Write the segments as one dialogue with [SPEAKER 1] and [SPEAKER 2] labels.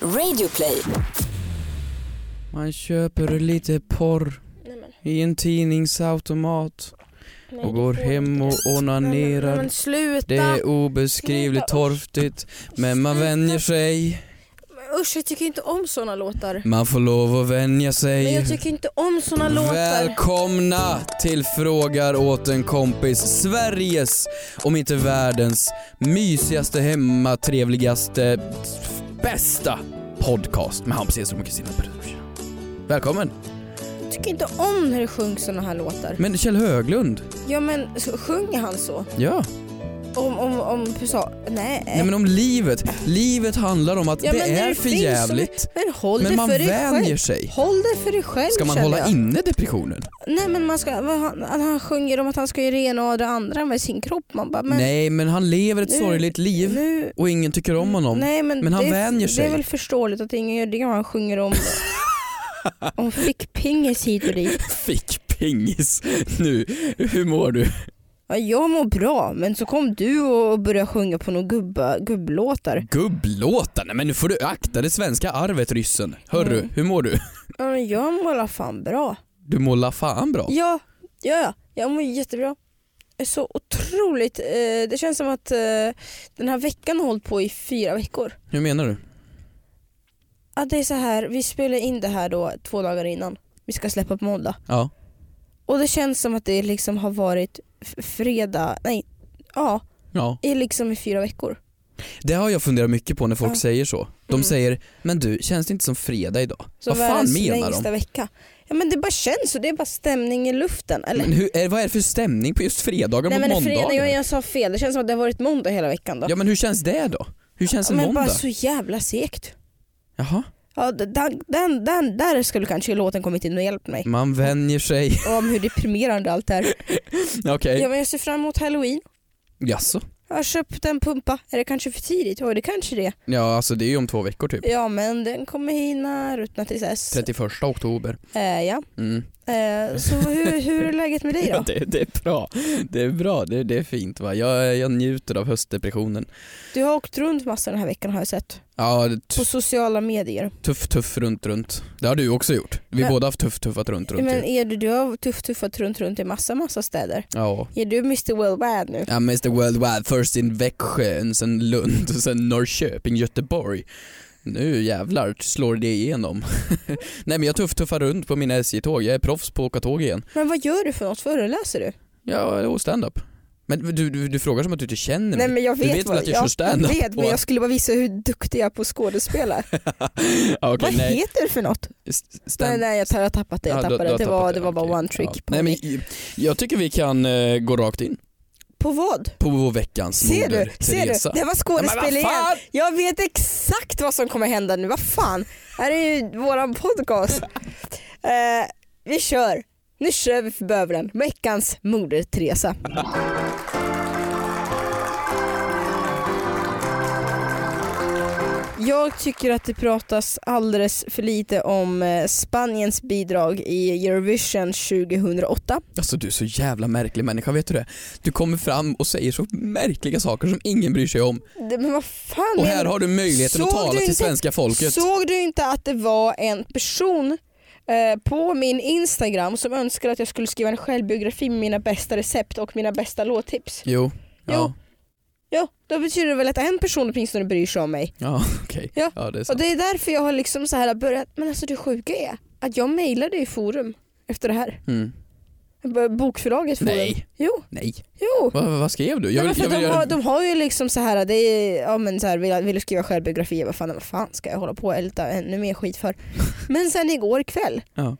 [SPEAKER 1] Radioplay.
[SPEAKER 2] Man köper lite porr
[SPEAKER 3] Nej men.
[SPEAKER 2] i en tidningsautomat
[SPEAKER 3] Nej,
[SPEAKER 2] och
[SPEAKER 3] det
[SPEAKER 2] går
[SPEAKER 3] får
[SPEAKER 2] hem
[SPEAKER 3] inte.
[SPEAKER 2] och
[SPEAKER 3] Nej, men, nej, men
[SPEAKER 2] onanerar.
[SPEAKER 3] sluta!
[SPEAKER 2] Det är obeskrivligt
[SPEAKER 3] Sluta,
[SPEAKER 2] torftigt men man vänjer sig.
[SPEAKER 3] Men Usch jag tycker inte om såna låtar.
[SPEAKER 2] Man får lov att vänja
[SPEAKER 3] Men
[SPEAKER 2] sig.
[SPEAKER 3] jag tycker inte om såna låtar.
[SPEAKER 2] Välkomna till Frågar åt en kompis, Sveriges, om inte världens, mysigaste, hemmatrevligaste, f- bästa podcast med Hampus Hedström och Kristina Pettersson. Välkommen!
[SPEAKER 3] Jag tycker inte om när det sjungs såna här låtar.
[SPEAKER 2] Men Kjell Höglund,
[SPEAKER 3] Ja men så sjunger han så?
[SPEAKER 2] ja.
[SPEAKER 3] Om, om, om USA? Nej.
[SPEAKER 2] Nej men om livet. Livet handlar om att
[SPEAKER 3] Ja,
[SPEAKER 2] det
[SPEAKER 3] men när
[SPEAKER 2] är
[SPEAKER 3] det
[SPEAKER 2] för
[SPEAKER 3] finns som-
[SPEAKER 2] jävligt.
[SPEAKER 3] Men håll
[SPEAKER 2] Men
[SPEAKER 3] det
[SPEAKER 2] man
[SPEAKER 3] för dig
[SPEAKER 2] vänjer
[SPEAKER 3] själv.
[SPEAKER 2] sig.
[SPEAKER 3] Håll det för dig själv
[SPEAKER 2] Ska man
[SPEAKER 3] känner
[SPEAKER 2] hålla
[SPEAKER 3] jag.
[SPEAKER 2] inne depressionen?
[SPEAKER 3] Nej men man ska, vad han, han- han sjunger om att han ska göra det ena och det andra med sin kropp. Man bara, men
[SPEAKER 2] Nej men han lever ett
[SPEAKER 3] Nu-
[SPEAKER 2] sorgligt liv
[SPEAKER 3] nu,
[SPEAKER 2] och ingen tycker om honom.
[SPEAKER 3] Mm, nej, men,
[SPEAKER 2] Men han
[SPEAKER 3] det, är-
[SPEAKER 2] vänjer sig.
[SPEAKER 3] Det är väl förståeligt att ingen gör det han sjunger om. om fickpingis hit och dit.
[SPEAKER 2] Fick pingis. Nu, hur mår du?
[SPEAKER 3] Ja, jag mår bra men så kom du och började sjunga på några gubba, gubblåtar.
[SPEAKER 2] Gubblåtar? Nej men nu får du akta det svenska arvet ryssen. Hörru,
[SPEAKER 3] Mm.
[SPEAKER 2] hur mår du?
[SPEAKER 3] Ja, men jag mår alla fan bra.
[SPEAKER 2] Du mår la fan bra.
[SPEAKER 3] Ja, ja, ja. jag mår jättebra. Det är Så otroligt. Eh, det känns som att eh, den här veckan har hållit på i fyra veckor.
[SPEAKER 2] Hur menar du?
[SPEAKER 3] Att det är så här, vi spelar in det här då två dagar innan. Vi ska släppa på måndag.
[SPEAKER 2] Ja.
[SPEAKER 3] Och det känns som att det liksom har varit f- fredag, nej, ja,
[SPEAKER 2] Ja,
[SPEAKER 3] i liksom i fyra veckor.
[SPEAKER 2] det har jag funderat mycket på när folk
[SPEAKER 3] Ja.
[SPEAKER 2] säger så. De
[SPEAKER 3] Mm.
[SPEAKER 2] säger, men du, känns det inte som fredag idag?
[SPEAKER 3] Så
[SPEAKER 2] Vad fan
[SPEAKER 3] världens
[SPEAKER 2] menar de?
[SPEAKER 3] längsta vecka. Ja men det bara känns så, det är bara stämning i luften. Eller?
[SPEAKER 2] Men hur, är, vad är det för stämning på just fredagar
[SPEAKER 3] Nej
[SPEAKER 2] mot
[SPEAKER 3] men
[SPEAKER 2] måndagar?
[SPEAKER 3] fredag, jag, jag sa fel. Det känns som att det har varit måndag hela veckan då.
[SPEAKER 2] Ja men hur känns det då? Hur känns en
[SPEAKER 3] men
[SPEAKER 2] måndag?
[SPEAKER 3] bara så jävla segt.
[SPEAKER 2] Jaha,
[SPEAKER 3] Ja, d- den, den, den, där skulle kanske låten kommit in och hjälpt mig.
[SPEAKER 2] man vänjer sig.
[SPEAKER 3] Om hur deprimerande allt är.
[SPEAKER 2] Okej.
[SPEAKER 3] Ja, men jag ser fram emot halloween.
[SPEAKER 2] Jaså?
[SPEAKER 3] Jag har köpt en pumpa. Är det kanske för tidigt? Ja det kanske det är.
[SPEAKER 2] Ja alltså det är ju om två veckor typ.
[SPEAKER 3] Ja men den kommer hinna ruttna tills dess.
[SPEAKER 2] 31 oktober.
[SPEAKER 3] Eh, ja.
[SPEAKER 2] Mm.
[SPEAKER 3] Eh, så hur, hur är läget med dig
[SPEAKER 2] Ja,
[SPEAKER 3] då?
[SPEAKER 2] det, det är bra. Det är bra, det, det är fint va. Jag, jag njuter av höstdepressionen.
[SPEAKER 3] Du har åkt runt massa den här veckan har jag sett.
[SPEAKER 2] Ja, det är t-
[SPEAKER 3] På sociala medier.
[SPEAKER 2] tuff tuff runt runt. Det har du också gjort. Vi
[SPEAKER 3] Men-
[SPEAKER 2] båda har tuff tuffat runt runt.
[SPEAKER 3] Men
[SPEAKER 2] ju.
[SPEAKER 3] är du, du har tuff tuffat runt runt i massa massa städer.
[SPEAKER 2] Ja.
[SPEAKER 3] Är du Mr Worldwide nu?
[SPEAKER 2] Ja, Mr Worldwide, först in Växjö, en sen Lund och sen Norrköping, Göteborg. Nu jävlar slår det igenom. Nej men jag tuff-tuffar runt på mina SJ-tåg, jag är proffs på att åka tåg igen.
[SPEAKER 3] Men vad gör du för något? Föreläser du?
[SPEAKER 2] Ja, och stand-up. Men du, du, du frågar som att du inte känner mig.
[SPEAKER 3] Nej men jag
[SPEAKER 2] Du
[SPEAKER 3] vet,
[SPEAKER 2] vet väl
[SPEAKER 3] vad,
[SPEAKER 2] att jag
[SPEAKER 3] ja,
[SPEAKER 2] kör stand-up
[SPEAKER 3] Jag vet men
[SPEAKER 2] och-
[SPEAKER 3] jag skulle bara visa hur duktig jag är på att skådespela.
[SPEAKER 2] Ja, Ah, okej,
[SPEAKER 3] vad
[SPEAKER 2] nej.
[SPEAKER 3] heter du för något?
[SPEAKER 2] S- stand-
[SPEAKER 3] Nej, nej jag, tar, jag tappat det, jag
[SPEAKER 2] Ja, du-
[SPEAKER 3] tappade
[SPEAKER 2] du har
[SPEAKER 3] det. Det
[SPEAKER 2] tappat
[SPEAKER 3] var, det var bara
[SPEAKER 2] okej.
[SPEAKER 3] one trick.
[SPEAKER 2] Ja.
[SPEAKER 3] På,
[SPEAKER 2] Nej, men,
[SPEAKER 3] mig.
[SPEAKER 2] i- jag tycker vi kan eh, gå rakt in
[SPEAKER 3] på vad?
[SPEAKER 2] på vår veckans
[SPEAKER 3] Ser
[SPEAKER 2] moder,
[SPEAKER 3] du? Ser
[SPEAKER 2] Teresa.
[SPEAKER 3] du? Det var
[SPEAKER 2] Ja, men
[SPEAKER 3] skådespel
[SPEAKER 2] vad
[SPEAKER 3] igen.
[SPEAKER 2] fan!
[SPEAKER 3] Jag vet exakt vad som kommer hända nu. Vad fan? Här är ju våran podcast. Eh, vi kör. Nu kör vi för bövelen. Veckans moder Teresa. Jag tycker att det pratas alldeles för lite om eh, Spaniens bidrag i Eurovision 2008.
[SPEAKER 2] Alltså du är så jävla märklig människa, vet du det? Du kommer fram och säger så märkliga saker som ingen bryr sig om.
[SPEAKER 3] Det- Men vad fan
[SPEAKER 2] Och
[SPEAKER 3] menar
[SPEAKER 2] här
[SPEAKER 3] du?
[SPEAKER 2] har du möjligheten att
[SPEAKER 3] Såg
[SPEAKER 2] tala
[SPEAKER 3] du
[SPEAKER 2] till
[SPEAKER 3] inte-
[SPEAKER 2] svenska folket.
[SPEAKER 3] Såg du inte att det var en person eh, på min Instagram som önskade att jag skulle skriva en självbiografi med mina bästa recept och mina bästa låttips?
[SPEAKER 2] Jo. Ja,
[SPEAKER 3] Jo. Ja, då betyder det väl att en person åtminstone bryr sig om mig.
[SPEAKER 2] ja okej.
[SPEAKER 3] Ja.
[SPEAKER 2] Ja, det är
[SPEAKER 3] Och
[SPEAKER 2] sant.
[SPEAKER 3] det är därför jag har liksom så här börjat, men alltså det sjuka är att jag mejlade i forum efter det här.
[SPEAKER 2] Mm.
[SPEAKER 3] B- Bokförlaget forum.
[SPEAKER 2] Nej.
[SPEAKER 3] Jo,
[SPEAKER 2] Nej,
[SPEAKER 3] jo.
[SPEAKER 2] Va- va- vad skrev du? Jag
[SPEAKER 3] Nej,
[SPEAKER 2] vill,
[SPEAKER 3] men för
[SPEAKER 2] jag vill
[SPEAKER 3] de, har,
[SPEAKER 2] göra...
[SPEAKER 3] de har ju liksom så här, det är, ja men så här, vill, vill du skriva självbiografi, vad fan, vad fan ska jag hålla på och älta ännu mer skit för? Men sen igår kväll,
[SPEAKER 2] Ja.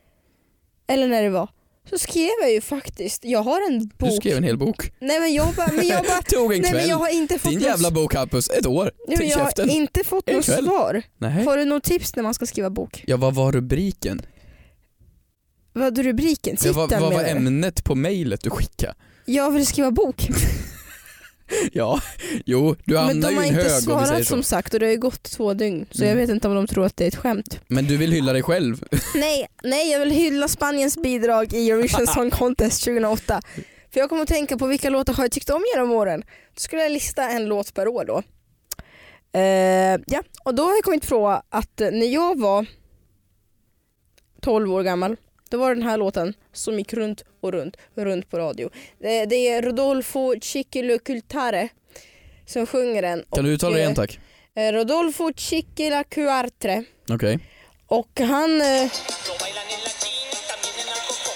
[SPEAKER 3] eller när det var, så skrev jag ju faktiskt, jag har en
[SPEAKER 2] Du
[SPEAKER 3] bok.
[SPEAKER 2] skrev en hel bok.
[SPEAKER 3] Nej men jag bara, men jag bara,
[SPEAKER 2] Tog en
[SPEAKER 3] nej men
[SPEAKER 2] kväll.
[SPEAKER 3] jag har inte fått
[SPEAKER 2] Din
[SPEAKER 3] något-
[SPEAKER 2] jävla bok Hampus, ett år.
[SPEAKER 3] Nej, men
[SPEAKER 2] Till
[SPEAKER 3] jag har
[SPEAKER 2] käften.
[SPEAKER 3] inte fått
[SPEAKER 2] En
[SPEAKER 3] något
[SPEAKER 2] kväll.
[SPEAKER 3] svar.
[SPEAKER 2] Nej.
[SPEAKER 3] Har du något tips när man ska skriva bok?
[SPEAKER 2] Ja, vad var rubriken?
[SPEAKER 3] Vad är
[SPEAKER 2] Ja,
[SPEAKER 3] rubriken? Titeln
[SPEAKER 2] vad, vad var
[SPEAKER 3] menar du?
[SPEAKER 2] ämnet på mejlet du skickade?
[SPEAKER 3] Jag vill skriva bok.
[SPEAKER 2] Ja, jo, du
[SPEAKER 3] Men
[SPEAKER 2] hamnar
[SPEAKER 3] de
[SPEAKER 2] ju
[SPEAKER 3] har
[SPEAKER 2] i en hög
[SPEAKER 3] inte
[SPEAKER 2] om vi säger
[SPEAKER 3] svarat
[SPEAKER 2] så.
[SPEAKER 3] som sagt och det har ju gått två dygn så
[SPEAKER 2] Mm.
[SPEAKER 3] jag vet inte om de tror att det är ett skämt.
[SPEAKER 2] Men du vill hylla dig själv?
[SPEAKER 3] Nej, nej, jag vill hylla Spaniens bidrag i Eurovision Song Contest 2008. För jag kommer att tänka på vilka låtar har jag tyckt om genom åren. Då skulle jag lista en låt per år då. Eh, ja, och då har jag kommit på att eh, när jag var 12 år gammal, då var den här låten som gick runt och runt, runt på radio. Eh, det är Rodolfo Ciccolo-Cultare som sjunger den.
[SPEAKER 2] Kan du uttala det igen tack?
[SPEAKER 3] Eh, Rodolfo Ciccolo-Cultare.
[SPEAKER 2] Okej.
[SPEAKER 3] Och han... Eh,
[SPEAKER 1] Lo bailan en la China, también en la Cocó.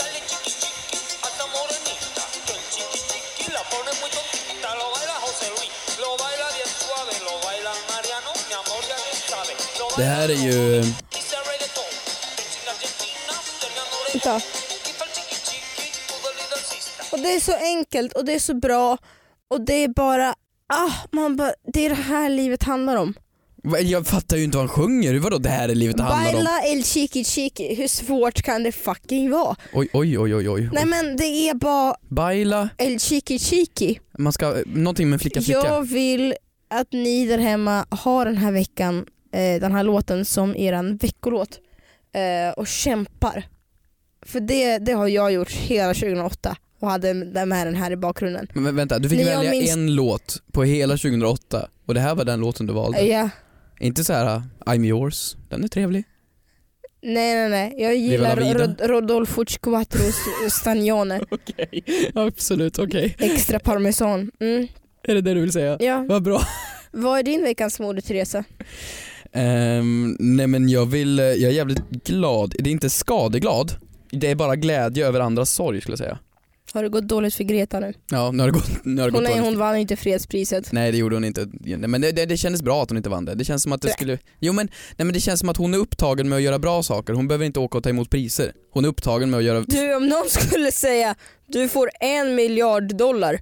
[SPEAKER 1] Dale chiqui chiqui, hasta morenita. Que el chiqui chiqui la pone muy tontita. Lo baila José Luis, lo baila bien suave. Lo baila Mariano, mi amor ya que sabe. Lo
[SPEAKER 2] Det
[SPEAKER 1] baila
[SPEAKER 2] här är ju...
[SPEAKER 1] dice reggaetón. En Argentina, tengan morena.
[SPEAKER 3] vänta.
[SPEAKER 1] Y para el chiqui chiqui, todo el lidercista.
[SPEAKER 3] Och det är så enkelt och det är så bra och det är bara, ah, man bara, det är det här livet handlar om.
[SPEAKER 2] Va, Jag fattar ju inte vad han sjunger. Vadå det här är livet det handlar om?
[SPEAKER 3] Baila el chiqui chiqui, hur svårt kan det fucking vara?
[SPEAKER 2] Oj, oj, oj, oj, oj.
[SPEAKER 3] Nej men det är bara
[SPEAKER 2] Baila,
[SPEAKER 3] el chiqui chiqui.
[SPEAKER 2] man ska... eh, Någonting med flicka, flicka.
[SPEAKER 3] Jag vill att ni där hemma har den här veckan, eh, den här låten som eran veckolåt eh, och kämpar. För det, det har jag gjort hela 2008 och hade den här, den här i bakgrunden.
[SPEAKER 2] Men vä- vänta, du fick
[SPEAKER 3] Nej, jag
[SPEAKER 2] välja
[SPEAKER 3] minns-
[SPEAKER 2] en låt på hela 2008 och det här var den låten du valde.
[SPEAKER 3] Ja.
[SPEAKER 2] Inte så här "Ah, I'm yours, den är trevlig.
[SPEAKER 3] Nej nej nej, jag gillar
[SPEAKER 2] Viva la vida.
[SPEAKER 3] Rod- Rodolfo Cuatro Stagnone.
[SPEAKER 2] Okej, absolut okej.
[SPEAKER 3] Extra parmesan. Mm.
[SPEAKER 2] Är det det du vill säga?
[SPEAKER 3] Ja.
[SPEAKER 2] Vad bra.
[SPEAKER 3] Vad är din veckans mode Teresa?
[SPEAKER 2] Ehm, nej men jag vill, eh, jag är jävligt glad. Det är inte skadeglad, det är bara glädje över andras sorg skulle jag säga.
[SPEAKER 3] Har det gått dåligt för Greta nu?
[SPEAKER 2] Ja, nu har det gått, nu har det
[SPEAKER 3] Hon,
[SPEAKER 2] gått
[SPEAKER 3] är,
[SPEAKER 2] dåligt.
[SPEAKER 3] hon vann inte fredspriset.
[SPEAKER 2] Nej det gjorde hon inte, Nej, men det, det, det kändes bra att hon inte vann det. Det känns som att det
[SPEAKER 3] Nej.
[SPEAKER 2] skulle, jo men, nej men det känns som att hon är upptagen med att göra bra saker, hon behöver inte åka och ta emot priser. Hon är upptagen med att göra,
[SPEAKER 3] Du om någon skulle säga du får en miljard dollar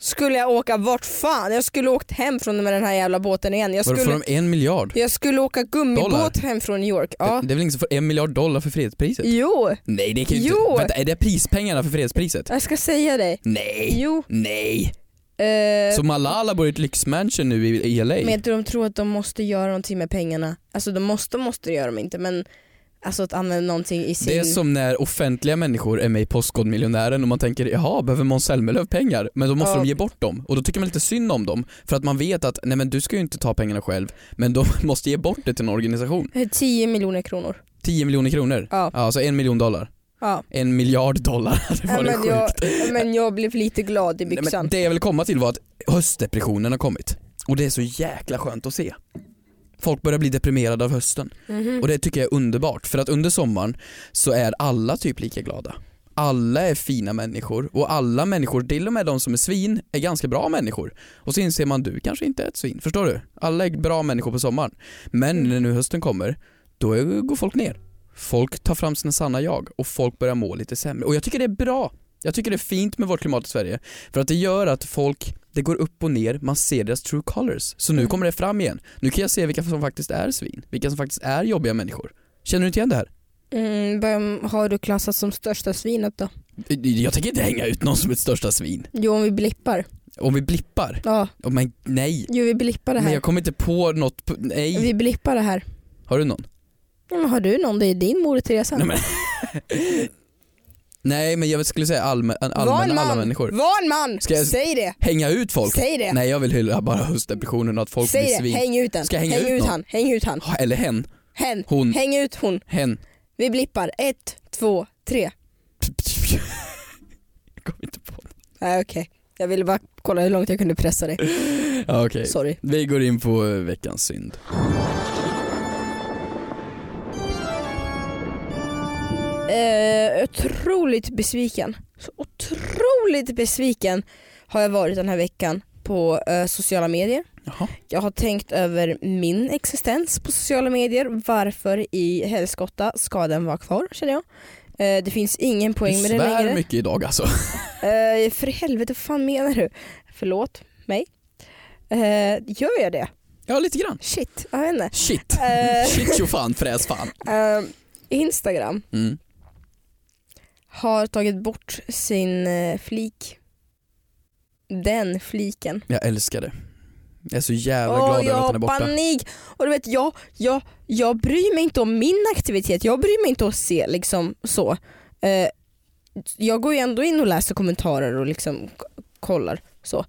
[SPEAKER 3] skulle jag åka vart fan? Jag skulle åkt hem från med den här jävla båten igen. Jag
[SPEAKER 2] varför får
[SPEAKER 3] skulle,
[SPEAKER 2] de en miljard?
[SPEAKER 3] jag skulle åka gummibåt
[SPEAKER 2] Dollar?
[SPEAKER 3] hem från New York. Ja.
[SPEAKER 2] Det, det är väl ingen som får en miljard dollar för fredspriset?
[SPEAKER 3] Jo,
[SPEAKER 2] Nej det kan ju
[SPEAKER 3] Jo.
[SPEAKER 2] inte, vänta är det prispengarna för fredspriset?
[SPEAKER 3] jag ska säga dig.
[SPEAKER 2] Nej,
[SPEAKER 3] Jo.
[SPEAKER 2] nej.
[SPEAKER 3] Eh,
[SPEAKER 2] Så Malala bor i ett lyxmansion nu i i LA?
[SPEAKER 3] Men de tror att de måste göra någonting med pengarna. Alltså de måste, måste det gör de inte men alltså att använda någonting i sin...
[SPEAKER 2] Det är som när offentliga människor är med i Postkodmiljonären och man tänker jaha, behöver Måns Zelmerlöw pengar? Men då måste
[SPEAKER 3] Ja.
[SPEAKER 2] de ge bort dem och då tycker man lite synd om dem för att man vet att nej men du ska ju inte ta pengarna själv men de måste ge bort det till en organisation.
[SPEAKER 3] 10 Eh, miljoner kronor. 10
[SPEAKER 2] 10 miljoner kronor?
[SPEAKER 3] Ja.
[SPEAKER 2] Alltså en miljon dollar.
[SPEAKER 3] Ja.
[SPEAKER 2] En miljard dollar hade
[SPEAKER 3] Ja,
[SPEAKER 2] varit
[SPEAKER 3] men,
[SPEAKER 2] sjukt.
[SPEAKER 3] jag, men jag blev lite glad i
[SPEAKER 2] Nej,
[SPEAKER 3] byxan.
[SPEAKER 2] men det jag vill komma till var att höstdepressionen har kommit och det är så jäkla skönt att se. Folk börjar bli deprimerade av hösten
[SPEAKER 3] Mhm.
[SPEAKER 2] och det tycker jag är underbart för att under sommaren så är alla typ lika glada. Alla är fina människor och alla människor, till och med de som är svin, är ganska bra människor. Och så inser man du kanske inte är ett svin, förstår du? Alla är bra människor på sommaren. Men
[SPEAKER 3] Mm.
[SPEAKER 2] när nu hösten kommer, då är- går folk ner. Folk tar fram sina sanna jag och folk börjar må lite sämre. Och jag tycker det är bra. Jag tycker det är fint med vårt klimat i Sverige. För att det gör att folk, det går upp och ner, man ser deras true colors. Så nu
[SPEAKER 3] Mm.
[SPEAKER 2] kommer det fram igen. Nu kan jag se vilka som faktiskt är svin, vilka som faktiskt är jobbiga människor. Känner du inte igen det här?
[SPEAKER 3] Mm, vem har du klassat som största svinet då?
[SPEAKER 2] Jag tänker inte hänga ut någon som är ett största svin.
[SPEAKER 3] Jo om vi blippar.
[SPEAKER 2] Om vi blippar,
[SPEAKER 3] Ja,
[SPEAKER 2] oh, men nej.
[SPEAKER 3] jo vi blippar det
[SPEAKER 2] Men
[SPEAKER 3] här.
[SPEAKER 2] jag kommer inte på något, på- nej.
[SPEAKER 3] Vi blippar det här.
[SPEAKER 2] Har du någon?
[SPEAKER 3] Ja, men har du någon? Det är din moder Teresa.
[SPEAKER 2] Nej, men- Nej men jag skulle säga allmän,
[SPEAKER 3] Var en
[SPEAKER 2] allmän, alla
[SPEAKER 3] man!
[SPEAKER 2] människor.
[SPEAKER 3] Var en man!
[SPEAKER 2] Ska jag-
[SPEAKER 3] Säg det!
[SPEAKER 2] Hänga ut folk?
[SPEAKER 3] Säg det!
[SPEAKER 2] Nej jag vill hylla bara höstdepressionen och att folk blir
[SPEAKER 3] Säg det!
[SPEAKER 2] svin.
[SPEAKER 3] Häng ut den!
[SPEAKER 2] Ska jag hänga
[SPEAKER 3] Häng
[SPEAKER 2] ut
[SPEAKER 3] ut
[SPEAKER 2] någon?
[SPEAKER 3] han! Häng ut han!
[SPEAKER 2] Ha- Mm. Eller hen.
[SPEAKER 3] Hen!
[SPEAKER 2] Hon.
[SPEAKER 3] Häng ut hon!
[SPEAKER 2] Hen.
[SPEAKER 3] Vi blippar. Ett, två, tre.
[SPEAKER 2] Jag kom inte på det.
[SPEAKER 3] Nej okej. Jag ville bara kolla hur långt jag kunde pressa dig.
[SPEAKER 2] Ja, Okej.
[SPEAKER 3] Sorry.
[SPEAKER 2] Vi går in på eh, veckans synd.
[SPEAKER 3] Eh, otroligt besviken. Så otroligt besviken har jag varit den här veckan på eh, sociala medier.
[SPEAKER 2] Jaha.
[SPEAKER 3] Jag har tänkt över min existens på sociala medier. Varför i helskotta ska den vara kvar känner jag. Eh, det finns ingen
[SPEAKER 2] Du
[SPEAKER 3] poäng med det längre.
[SPEAKER 2] svär mycket idag alltså.
[SPEAKER 3] Eh, för i helvete, vad fan menar du? Förlåt mig. Eh, gör jag det?
[SPEAKER 2] Ja lite grann.
[SPEAKER 3] Shit, jag vet inte.
[SPEAKER 2] Shit.
[SPEAKER 3] Eh.
[SPEAKER 2] Shit tjofan fräs fan.
[SPEAKER 3] Eh, Instagram
[SPEAKER 2] Mm.
[SPEAKER 3] har tagit bort sin eh, flik. Den fliken.
[SPEAKER 2] Jag älskar det. Jag är så jävla
[SPEAKER 3] Åh,
[SPEAKER 2] glad
[SPEAKER 3] jag
[SPEAKER 2] över att
[SPEAKER 3] har
[SPEAKER 2] den är borta.
[SPEAKER 3] panik! Och du vet, jag, jag, jag bryr mig inte om min aktivitet, jag bryr mig inte om att se liksom så. Eh, jag går ju ändå in och läser kommentarer och liksom k- kollar så.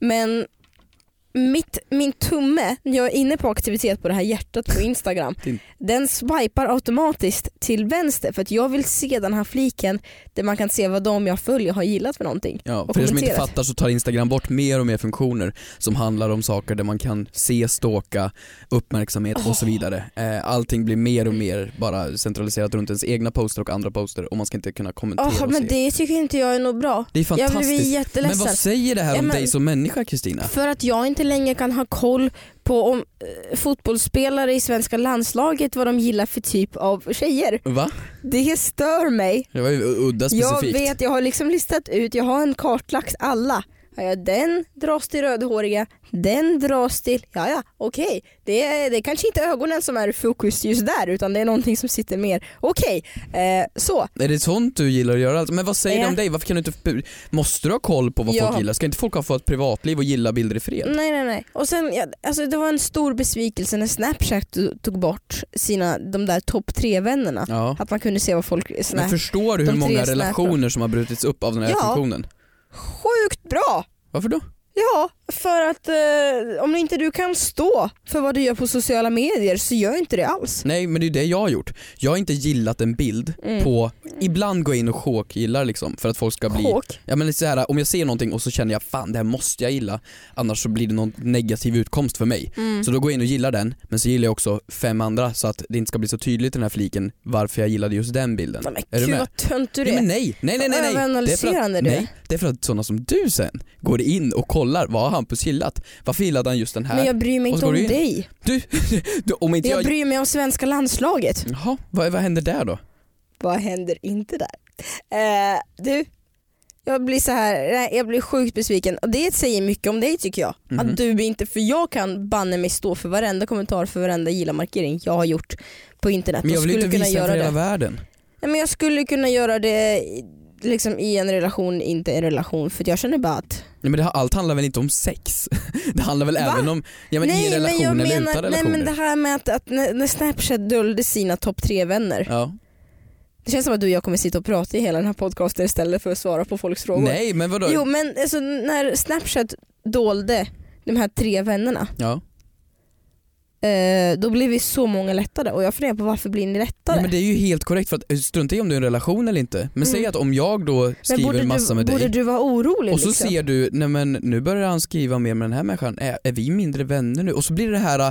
[SPEAKER 3] Men mitt, min tumme, när jag är inne på aktivitet på det här hjärtat på Instagram,
[SPEAKER 2] Din-
[SPEAKER 3] den swipar automatiskt till vänster för att jag vill se den här fliken där man kan se vad de jag följer har gillat för någonting.
[SPEAKER 2] Ja,
[SPEAKER 3] och
[SPEAKER 2] för er som inte
[SPEAKER 3] kommenterat.
[SPEAKER 2] fattar så tar Instagram bort mer och mer funktioner som handlar om saker där man kan se, stalka, uppmärksamhet och så vidare. Eh, Allting blir mer och mer bara centraliserat runt ens egna poster och andra poster och man ska inte kunna kommentera
[SPEAKER 3] Åh,
[SPEAKER 2] och
[SPEAKER 3] men
[SPEAKER 2] se.
[SPEAKER 3] det tycker inte jag är något bra.
[SPEAKER 2] Det är
[SPEAKER 3] Jag blir
[SPEAKER 2] fantastiskt. men
[SPEAKER 3] jätteledsen.
[SPEAKER 2] vad säger det här
[SPEAKER 3] Ja,
[SPEAKER 2] om
[SPEAKER 3] men-
[SPEAKER 2] dig som människa Kristina?
[SPEAKER 3] För att jag inte längre kan ha koll på om eh, fotbollsspelare i svenska landslaget vad de gillar för typ av tjejer.
[SPEAKER 2] Va?
[SPEAKER 3] Det stör mig.
[SPEAKER 2] Det var ju udda
[SPEAKER 3] Jag
[SPEAKER 2] specifikt.
[SPEAKER 3] vet, jag har liksom listat ut, jag har en kartlagt alla. Ja, ja, den dras till rödhåriga, den dras till, ja ja okej. Det, är, det är kanske inte ögonen som är i fokus just där utan det är någonting som sitter mer, okej. Eh, så,
[SPEAKER 2] Är det sånt du gillar att göra? Alltså, Men vad säger
[SPEAKER 3] Ja.
[SPEAKER 2] det om dig? Varför kan du inte... Måste du ha koll på vad
[SPEAKER 3] Ja.
[SPEAKER 2] folk gillar? Ska inte folk ha fått ett privatliv och gilla bilder i fred?
[SPEAKER 3] nej nej nej. Och sen, ja, alltså, det var en stor besvikelse när Snapchat tog bort sina, de där topp tre vännerna.
[SPEAKER 2] Ja.
[SPEAKER 3] Att man kunde se vad folk... Såna
[SPEAKER 2] Men
[SPEAKER 3] här,
[SPEAKER 2] förstår du hur
[SPEAKER 3] De tre
[SPEAKER 2] många
[SPEAKER 3] snäppar.
[SPEAKER 2] relationer som har brutits upp av den här
[SPEAKER 3] Ja.
[SPEAKER 2] funktionen?
[SPEAKER 3] Sjukt bra!
[SPEAKER 2] Varför då?
[SPEAKER 3] Ja, för att eh, om inte du kan stå för vad du gör på sociala medier så gör inte det alls.
[SPEAKER 2] Nej men det är ju det jag har gjort. Jag har inte gillat en bild
[SPEAKER 3] Mm.
[SPEAKER 2] på, ibland går jag in och chokgillar liksom för att folk ska bli
[SPEAKER 3] Kåk.
[SPEAKER 2] Ja men det är så här, om jag ser någonting och så känner jag fan det här måste jag gilla annars så blir det någon negativ utkomst för mig.
[SPEAKER 3] Mm.
[SPEAKER 2] Så då går jag in och gillar den men så gillar jag också fem andra så att det inte ska bli så tydligt i den här fliken varför jag gillade just den bilden.
[SPEAKER 3] Nej,
[SPEAKER 2] är
[SPEAKER 3] men
[SPEAKER 2] du
[SPEAKER 3] gud
[SPEAKER 2] med?
[SPEAKER 3] vad tönt du är.
[SPEAKER 2] Nej, men nej, nej, nej, nej, nej.
[SPEAKER 3] Överanalyserande du är.
[SPEAKER 2] nej. Det är för att sådana som du sen går in och kollar, vad har Hampus gillat? Varför gillade han just den här?
[SPEAKER 3] Men jag bryr mig
[SPEAKER 2] Och
[SPEAKER 3] inte
[SPEAKER 2] så går
[SPEAKER 3] om
[SPEAKER 2] du in.
[SPEAKER 3] dig.
[SPEAKER 2] Du, du, om inte jag...
[SPEAKER 3] Jag bryr mig om svenska landslaget.
[SPEAKER 2] Jaha, vad, vad händer där då?
[SPEAKER 3] Vad händer inte där? Eh, du, jag blir så här, nej, jag blir sjukt besviken och det säger mycket om dig tycker jag.
[SPEAKER 2] Mhm.
[SPEAKER 3] Att du inte, för jag kan banne mig stå för varenda kommentar, för varenda gilla-markering jag har gjort på internet.
[SPEAKER 2] Men jag
[SPEAKER 3] och
[SPEAKER 2] vill ju inte
[SPEAKER 3] skulle kunna
[SPEAKER 2] visa den
[SPEAKER 3] göra
[SPEAKER 2] för hela
[SPEAKER 3] det.
[SPEAKER 2] världen.
[SPEAKER 3] Nej, men jag skulle kunna göra det i- liksom, i en relation, inte en relation. För jag känner bara att...
[SPEAKER 2] Nej, men det, har- allt handlar väl inte om sex? Det handlar väl
[SPEAKER 3] Va?
[SPEAKER 2] även om, ja men i relation eller utan
[SPEAKER 3] nej,
[SPEAKER 2] relationer?
[SPEAKER 3] men det här med att, att när, när Snapchat dolde sina topp tre vänner.
[SPEAKER 2] ja.
[SPEAKER 3] Det känns som att du och jag kommer sitta och prata i hela den här podcasten istället för att svara på folks frågor.
[SPEAKER 2] Nej men vadå?
[SPEAKER 3] Jo men alltså, när Snapchat dolde de här tre vännerna,
[SPEAKER 2] Ja.
[SPEAKER 3] eh, då blev vi så många lättade och jag funderar på varför blir ni lättade?
[SPEAKER 2] ja men det är ju helt korrekt för att strunta i om du är i en relation eller inte. Men säg
[SPEAKER 3] Mm.
[SPEAKER 2] att om jag då
[SPEAKER 3] men
[SPEAKER 2] skriver en massa
[SPEAKER 3] du,
[SPEAKER 2] med dig.
[SPEAKER 3] borde du vara orolig
[SPEAKER 2] Och så
[SPEAKER 3] liksom?
[SPEAKER 2] ser du, nej men nu börjar han skriva mer med den här människan, är, är vi mindre vänner nu? Och så blir det här äh,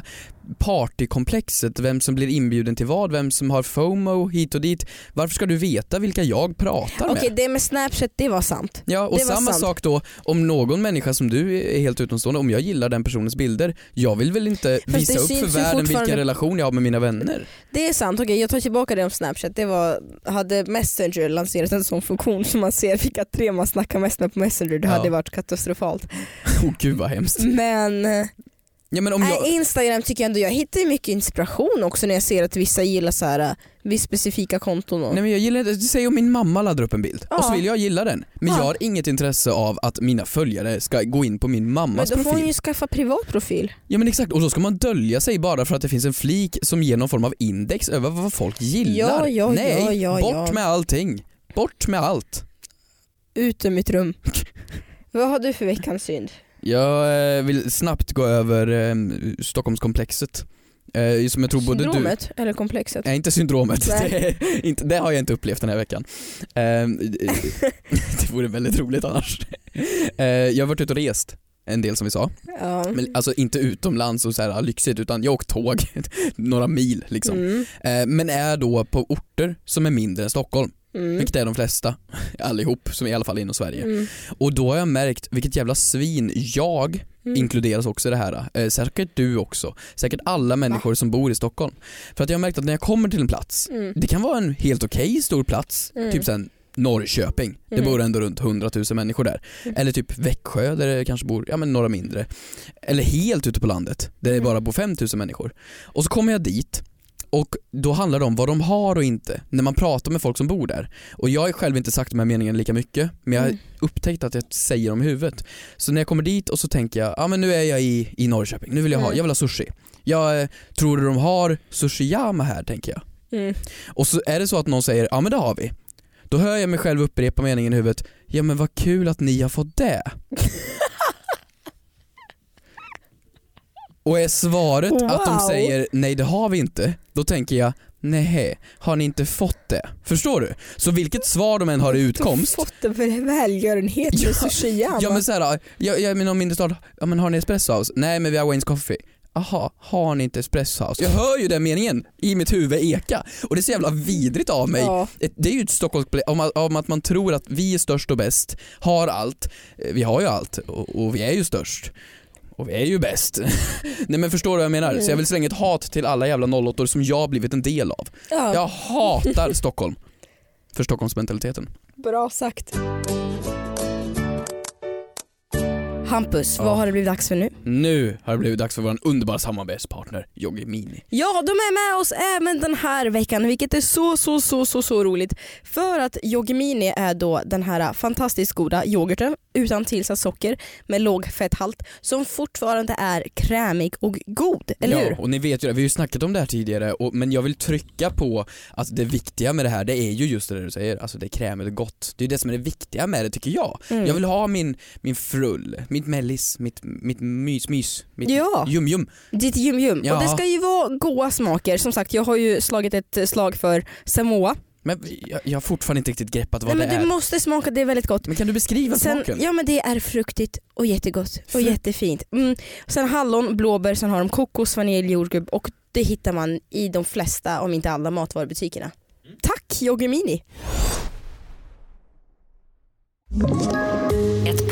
[SPEAKER 2] partykomplexet, vem som blir inbjuden till vad, vem som har FOMO hit och dit. Varför ska du veta vilka jag pratar
[SPEAKER 3] Okej
[SPEAKER 2] med?
[SPEAKER 3] det med Snapchat det var sant.
[SPEAKER 2] Ja och
[SPEAKER 3] det var
[SPEAKER 2] samma
[SPEAKER 3] sant.
[SPEAKER 2] sak då om någon människa som du är helt utomstående, om jag gillar den personens bilder, jag vill väl inte
[SPEAKER 3] det
[SPEAKER 2] visa upp
[SPEAKER 3] syns
[SPEAKER 2] för
[SPEAKER 3] ju
[SPEAKER 2] världen
[SPEAKER 3] fortfarande-
[SPEAKER 2] vilken relation jag har med mina vänner.
[SPEAKER 3] Det är sant, okej jag tar tillbaka det om Snapchat. Det var, hade Messenger lanserat en sån funktion som man ser vilka tre man snackar mest med på Messenger, det
[SPEAKER 2] Ja.
[SPEAKER 3] hade varit katastrofalt.
[SPEAKER 2] Åh gud vad hemskt.
[SPEAKER 3] Men eh,
[SPEAKER 2] Ja men om
[SPEAKER 3] nej,
[SPEAKER 2] jag,
[SPEAKER 3] Instagram tycker jag ändå, jag hittar ju mycket inspiration också när jag ser att vissa gillar så här, eh, viss specifika konton. Och,
[SPEAKER 2] Nej men jag gillar inte, säg om min mamma laddar upp en bild
[SPEAKER 3] Ja.
[SPEAKER 2] och så vill jag gilla den. Men
[SPEAKER 3] Ja.
[SPEAKER 2] jag har inget intresse av att mina följare ska gå in på min
[SPEAKER 3] men
[SPEAKER 2] mammas
[SPEAKER 3] då får
[SPEAKER 2] profil.
[SPEAKER 3] hon ju skaffa privat profil.
[SPEAKER 2] Ja men exakt, och då ska man dölja sig bara för att det finns en flik som ger någon form av index över vad folk gillar.
[SPEAKER 3] Ja, ja,
[SPEAKER 2] Nej,
[SPEAKER 3] ja, ja,
[SPEAKER 2] bort
[SPEAKER 3] ja.
[SPEAKER 2] med allting. Bort med allt.
[SPEAKER 3] Ut ur mitt rum. Vad har du för veckans synd?
[SPEAKER 2] Jag eh, vill snabbt gå över eh, Stockholmskomplexet. Eh, som jag tror både du... Eh,
[SPEAKER 3] Syndromet eller komplexet?
[SPEAKER 2] Nej inte syndromet,
[SPEAKER 3] Nej.
[SPEAKER 2] det, är inte, det har jag inte upplevt den här veckan. Eh, det vore väldigt roligt annars. Eh, jag har varit ute och rest en del som vi sa.
[SPEAKER 3] Ja.
[SPEAKER 2] Men, alltså inte utomlands och så här lyxigt utan jag har åkt tåg några mil liksom.
[SPEAKER 3] Mm,
[SPEAKER 2] Eh, men är då på orter som är mindre än Stockholm,
[SPEAKER 3] mm,
[SPEAKER 2] vilket är de flesta, allihop, som i alla fall inom Sverige.
[SPEAKER 3] mm,
[SPEAKER 2] Och då har jag märkt vilket jävla svin jag
[SPEAKER 3] mm.
[SPEAKER 2] inkluderas också i det här. Eh, säkert du också, säkert alla människor som bor i Stockholm. För att jag har märkt att när jag kommer till en plats,
[SPEAKER 3] Mm.
[SPEAKER 2] det kan vara en helt okej stor plats,
[SPEAKER 3] Mm.
[SPEAKER 2] typ sen Norrköping, det
[SPEAKER 3] Mm.
[SPEAKER 2] bor ändå runt 100 000 människor där.
[SPEAKER 3] Mm.
[SPEAKER 2] Eller typ Växjö där det kanske bor ja, men några mindre. Eller helt ute på landet där det
[SPEAKER 3] Mm.
[SPEAKER 2] bara bor 5 000 människor. Och så kommer jag dit och då handlar det om vad de har och inte när man pratar med folk som bor där. Och jag har själv inte sagt de här meningarna lika mycket men jag har
[SPEAKER 3] Mm.
[SPEAKER 2] upptäckt att jag säger dem i huvudet. Så när jag kommer dit och så tänker jag, ja men nu är jag i, i Norrköping, nu vill jag ha,
[SPEAKER 3] Mm.
[SPEAKER 2] jag vill ha sushi. Jag eh, tror de har sushiyama här tänker jag.
[SPEAKER 3] Mm.
[SPEAKER 2] Och så är det så att någon säger ja men det har vi. Då hör jag mig själv upprepa meningen i huvudet, ja men vad kul att ni har fått det. Och är svaret att de
[SPEAKER 3] Wow.
[SPEAKER 2] säger nej det har vi inte, då tänker jag nej, har ni inte fått det? Förstår du? Så vilket svar de än har i utkomst
[SPEAKER 3] Du har fått en väl- välgörenhet
[SPEAKER 2] Ja,
[SPEAKER 3] med Sushiyama.
[SPEAKER 2] Ja men såhär, jag, jag menar om mindre stad, ja men har ni espresso house? Nej men vi har Wayne's Coffee. Aha, har ni inte espresso house? Jag hör ju den meningen i mitt huvud eka och det är så jävla vidrigt av mig.
[SPEAKER 3] Ja.
[SPEAKER 2] Ett- Det är ju ett Stockholmsproblem, om, att- om att man tror att vi är störst och bäst, har allt. Eh, Vi har ju allt och, och vi är ju störst. Och vi är ju bäst. Nej men förstår du vad jag menar? Så jag vill slänga ett hat till alla jävla 08 som jag har blivit en del av.
[SPEAKER 3] Ja,
[SPEAKER 2] Jag hatar Stockholm. För Stockholmsmentaliteten.
[SPEAKER 3] Bra sagt. Hampus,
[SPEAKER 2] Ja.
[SPEAKER 3] vad har det blivit dags för nu?
[SPEAKER 2] Nu har det blivit dags för vår underbara samarbetspartner Yoggi Mini.
[SPEAKER 3] Ja, de är med oss även den här veckan vilket är så, så, så, så, så roligt. För att Yogimini är då den här fantastiskt goda yoghurten utan tillsatt socker med låg fetthalt som fortfarande är krämig och god, eller
[SPEAKER 2] ja,
[SPEAKER 3] hur?
[SPEAKER 2] och ni vet ju det, vi har ju snackat om det här tidigare och, men jag vill trycka på att det viktiga med det här det är ju just det där du säger, alltså det är krämigt och gott. Det är det som är det viktiga med det tycker jag.
[SPEAKER 3] Mm.
[SPEAKER 2] Jag vill ha min, min frull, mitt mellis, mitt, mitt mys, mys, mitt
[SPEAKER 3] Ja.
[SPEAKER 2] jum, jum.
[SPEAKER 3] Ditt jum-jum.
[SPEAKER 2] Ja.
[SPEAKER 3] Och det ska ju vara goa smaker. Som sagt, jag har ju slagit ett slag för Samoa.
[SPEAKER 2] Men jag, jag har fortfarande inte riktigt greppat vad
[SPEAKER 3] Nej, men
[SPEAKER 2] det är.
[SPEAKER 3] du måste smaka, det är väldigt gott.
[SPEAKER 2] Men kan du beskriva
[SPEAKER 3] Sen,
[SPEAKER 2] smaken?
[SPEAKER 3] ja men det är fruktigt och jättegott och
[SPEAKER 2] Frukt-
[SPEAKER 3] jättefint. Mm. Sen hallon, blåbär, sen har de kokos, vanilj, jordgubb och det hittar man i de flesta, om inte alla, matvarubutikerna.
[SPEAKER 2] Mm.
[SPEAKER 3] Tack Yogimini!
[SPEAKER 4] Ett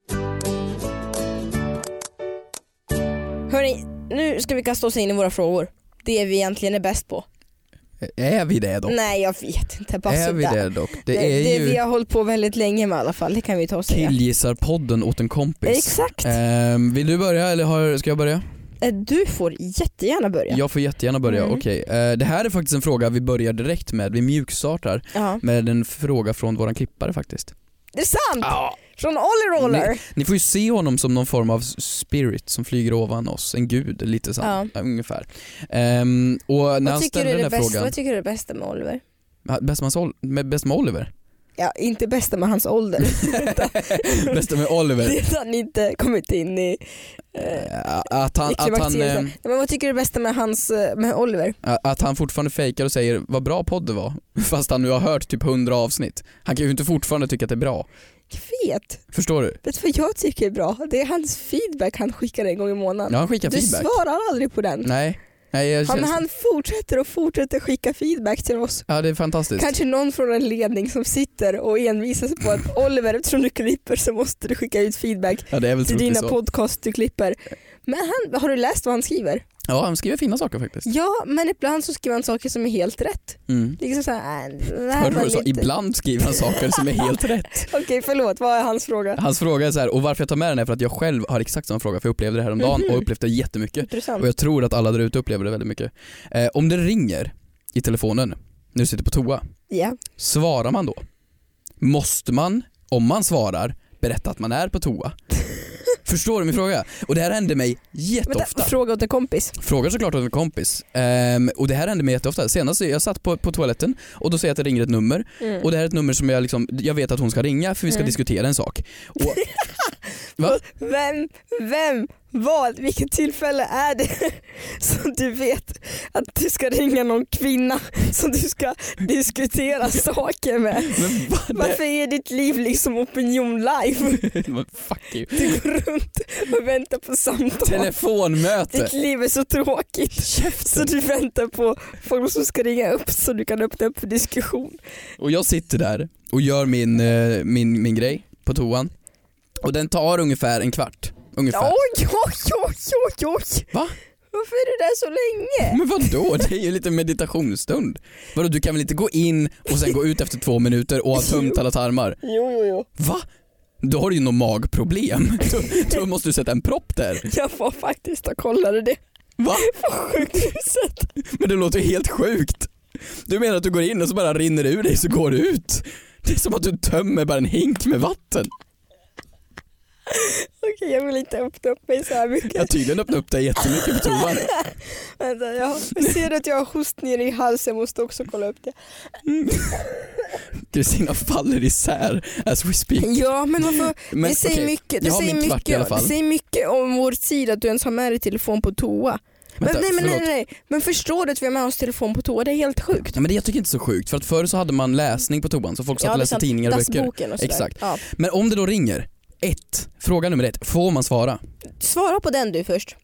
[SPEAKER 3] Hörni, nu ska vi kasta oss in i våra frågor. Det vi egentligen är bäst på.
[SPEAKER 2] Är vi det dock?
[SPEAKER 3] Nej jag vet inte, bara
[SPEAKER 2] är vi
[SPEAKER 3] sådär.
[SPEAKER 2] det dock? Det,
[SPEAKER 3] det,
[SPEAKER 2] är
[SPEAKER 3] det
[SPEAKER 2] ju
[SPEAKER 3] vi har hållit på väldigt länge med i alla fall, det kan vi ta och säga.
[SPEAKER 2] Killgissarpodden åt en kompis.
[SPEAKER 3] Exakt!
[SPEAKER 2] Ehm, vill du börja eller har, ska jag börja?
[SPEAKER 3] Eh, Du får jättegärna börja.
[SPEAKER 2] Jag får jättegärna börja,
[SPEAKER 3] Mm.
[SPEAKER 2] okej. Eh, det här är faktiskt en fråga vi börjar direkt med, vi mjukstartar
[SPEAKER 3] Ja.
[SPEAKER 2] med en fråga från våran klippare faktiskt.
[SPEAKER 3] Det är sant! Från Olly Roller.
[SPEAKER 2] Ah. Ni får ju se honom som någon form av spirit som flyger ovan oss, en gud lite så,
[SPEAKER 3] Ja.
[SPEAKER 2] ja. ungefär. Ehm, och när
[SPEAKER 3] Vad
[SPEAKER 2] han
[SPEAKER 3] tycker, du
[SPEAKER 2] ställde
[SPEAKER 3] är
[SPEAKER 2] den
[SPEAKER 3] det
[SPEAKER 2] här
[SPEAKER 3] bästa,
[SPEAKER 2] frågan,
[SPEAKER 3] vad tycker du är det bästa med Oliver?
[SPEAKER 2] bäst med, Sol- med, bäst med Oliver?
[SPEAKER 3] Ja, inte bästa med hans ålder.
[SPEAKER 2] Bästa med Oliver?
[SPEAKER 3] Det är att han inte kommit in i,
[SPEAKER 2] Eh, att, han,
[SPEAKER 3] i
[SPEAKER 2] att, han,
[SPEAKER 3] klimakteriet.
[SPEAKER 2] ehm,
[SPEAKER 3] Nej, Men vad tycker du är det bästa med, hans, eh, med Oliver?
[SPEAKER 2] att han fortfarande fejkar och säger vad bra podd det var, fast han nu har hört typ 100 avsnitt. Han kan ju inte fortfarande tycka att det är bra.
[SPEAKER 3] Jag vet.
[SPEAKER 2] Förstår du?
[SPEAKER 3] Vet du vad jag tycker är bra? Det är hans feedback han skickar en gång i månaden.
[SPEAKER 2] Ja, han skickar
[SPEAKER 3] du
[SPEAKER 2] feedback.
[SPEAKER 3] svarar aldrig på den.
[SPEAKER 2] Nej. Nej, jag
[SPEAKER 3] Han,
[SPEAKER 2] känns...
[SPEAKER 3] han fortsätter och fortsätter skicka feedback till oss.
[SPEAKER 2] Ja det är fantastiskt.
[SPEAKER 3] Kanske någon från en ledning som sitter och envisas på att Oliver, eftersom du klipper så måste du skicka ut feedback
[SPEAKER 2] Ja det är väl
[SPEAKER 3] till dina
[SPEAKER 2] troligtvis så.
[SPEAKER 3] podcast du klipper. Men han, har du läst vad han skriver?
[SPEAKER 2] Ja han skriver fina saker faktiskt.
[SPEAKER 3] Ja, men ibland så skriver han saker som är helt rätt.
[SPEAKER 2] Mm.
[SPEAKER 3] Liksom såhär, äh, det här
[SPEAKER 2] Hörde du
[SPEAKER 3] var
[SPEAKER 2] vad du sa?
[SPEAKER 3] lite-
[SPEAKER 2] Ibland skriver han saker som är helt rätt.
[SPEAKER 3] Okej förlåt, vad är hans fråga?
[SPEAKER 2] Hans fråga är så här, och varför jag tar med den är för att jag själv har exakt samma fråga för jag upplevde det här om dagen
[SPEAKER 3] Mhm.
[SPEAKER 2] och upplevde det jättemycket.
[SPEAKER 3] Intressant.
[SPEAKER 2] Och jag tror att alla där ute upplever det väldigt mycket. Eh, om det ringer i telefonen när du sitter på toa,
[SPEAKER 3] Ja.
[SPEAKER 2] svarar man då? Måste man, om man svarar, berätta att man är på toa? Förstår du min fråga? Och det här händer mig
[SPEAKER 3] Vänta,
[SPEAKER 2] jätteofta.
[SPEAKER 3] fråga åt en kompis.
[SPEAKER 2] Frågar såklart åt en kompis. Ehm, och det här hände mig jätteofta. Senast jag satt på, på toaletten och då säger jag att det ringer ett nummer. Och det här är ett nummer som jag liksom, jag vet att hon ska ringa för vi ska diskutera en sak. Och, Va?
[SPEAKER 3] Vem, vem, vad, vilket tillfälle är det som du vet att du ska ringa någon kvinna som du ska diskutera saker med?
[SPEAKER 2] men vad?
[SPEAKER 3] Varför är ditt liv liksom opinion live?
[SPEAKER 2] Det, men fuck you.
[SPEAKER 3] Du går runt och väntar på samtal.
[SPEAKER 2] Telefonmöte.
[SPEAKER 3] Ditt liv är så tråkigt. Så du väntar på folk som ska ringa upp så du kan öppna upp för diskussion.
[SPEAKER 2] Och jag sitter där och gör min, eh, min, min grej på toan. Och den tar ungefär en kvart. Ungefär.
[SPEAKER 3] Oj, oj, oj, oj, oj.
[SPEAKER 2] Va?
[SPEAKER 3] Varför är du där så länge?
[SPEAKER 2] Men vadå? Det är ju lite meditationsstund. Vadå, du kan väl inte gå in och sen gå ut efter två minuter och ha tömt alla tarmar?
[SPEAKER 3] Jo, jo, jo.
[SPEAKER 2] Va? Då har du ju något magproblem. Då, då måste du sätta en propp där.
[SPEAKER 3] Jag var faktiskt och kollade det.
[SPEAKER 2] Va?
[SPEAKER 3] Sjukhuset.
[SPEAKER 2] Men det låter ju helt sjukt. Du menar att du går in och så bara rinner det ur dig så går det ut? Det är som att du tömmer bara en hink med vatten.
[SPEAKER 3] Okej jag vill inte öppna upp mig så här mycket.
[SPEAKER 2] Jag har tydligen öppnat upp dig jättemycket på toan.
[SPEAKER 3] Vänta, jag ser att jag har host nere i halsen, måste också kolla upp det.
[SPEAKER 2] Kristina faller isär as we speak.
[SPEAKER 3] Ja men varför,
[SPEAKER 2] Men
[SPEAKER 3] det säger
[SPEAKER 2] okej,
[SPEAKER 3] mycket, det
[SPEAKER 2] jag har
[SPEAKER 3] säger
[SPEAKER 2] min kvart
[SPEAKER 3] mycket,
[SPEAKER 2] i alla fall.
[SPEAKER 3] det säger mycket om vår tid att du ens har med dig telefon på toa. Men,
[SPEAKER 2] Vänta,
[SPEAKER 3] nej, men, nej,
[SPEAKER 2] förlåt.
[SPEAKER 3] nej, nej. men förstår du att vi har med oss telefon på toa? Det är helt sjukt.
[SPEAKER 2] Ja, men det jag tycker inte så sjukt, för att förr så hade man läsning på toan så folk satt och läste tidningar och böcker.
[SPEAKER 3] Dassboken och sådär.
[SPEAKER 2] Exakt.
[SPEAKER 3] Ja.
[SPEAKER 2] Men om det då ringer, ett, fråga nummer ett, får man svara?
[SPEAKER 3] Svara på den du först.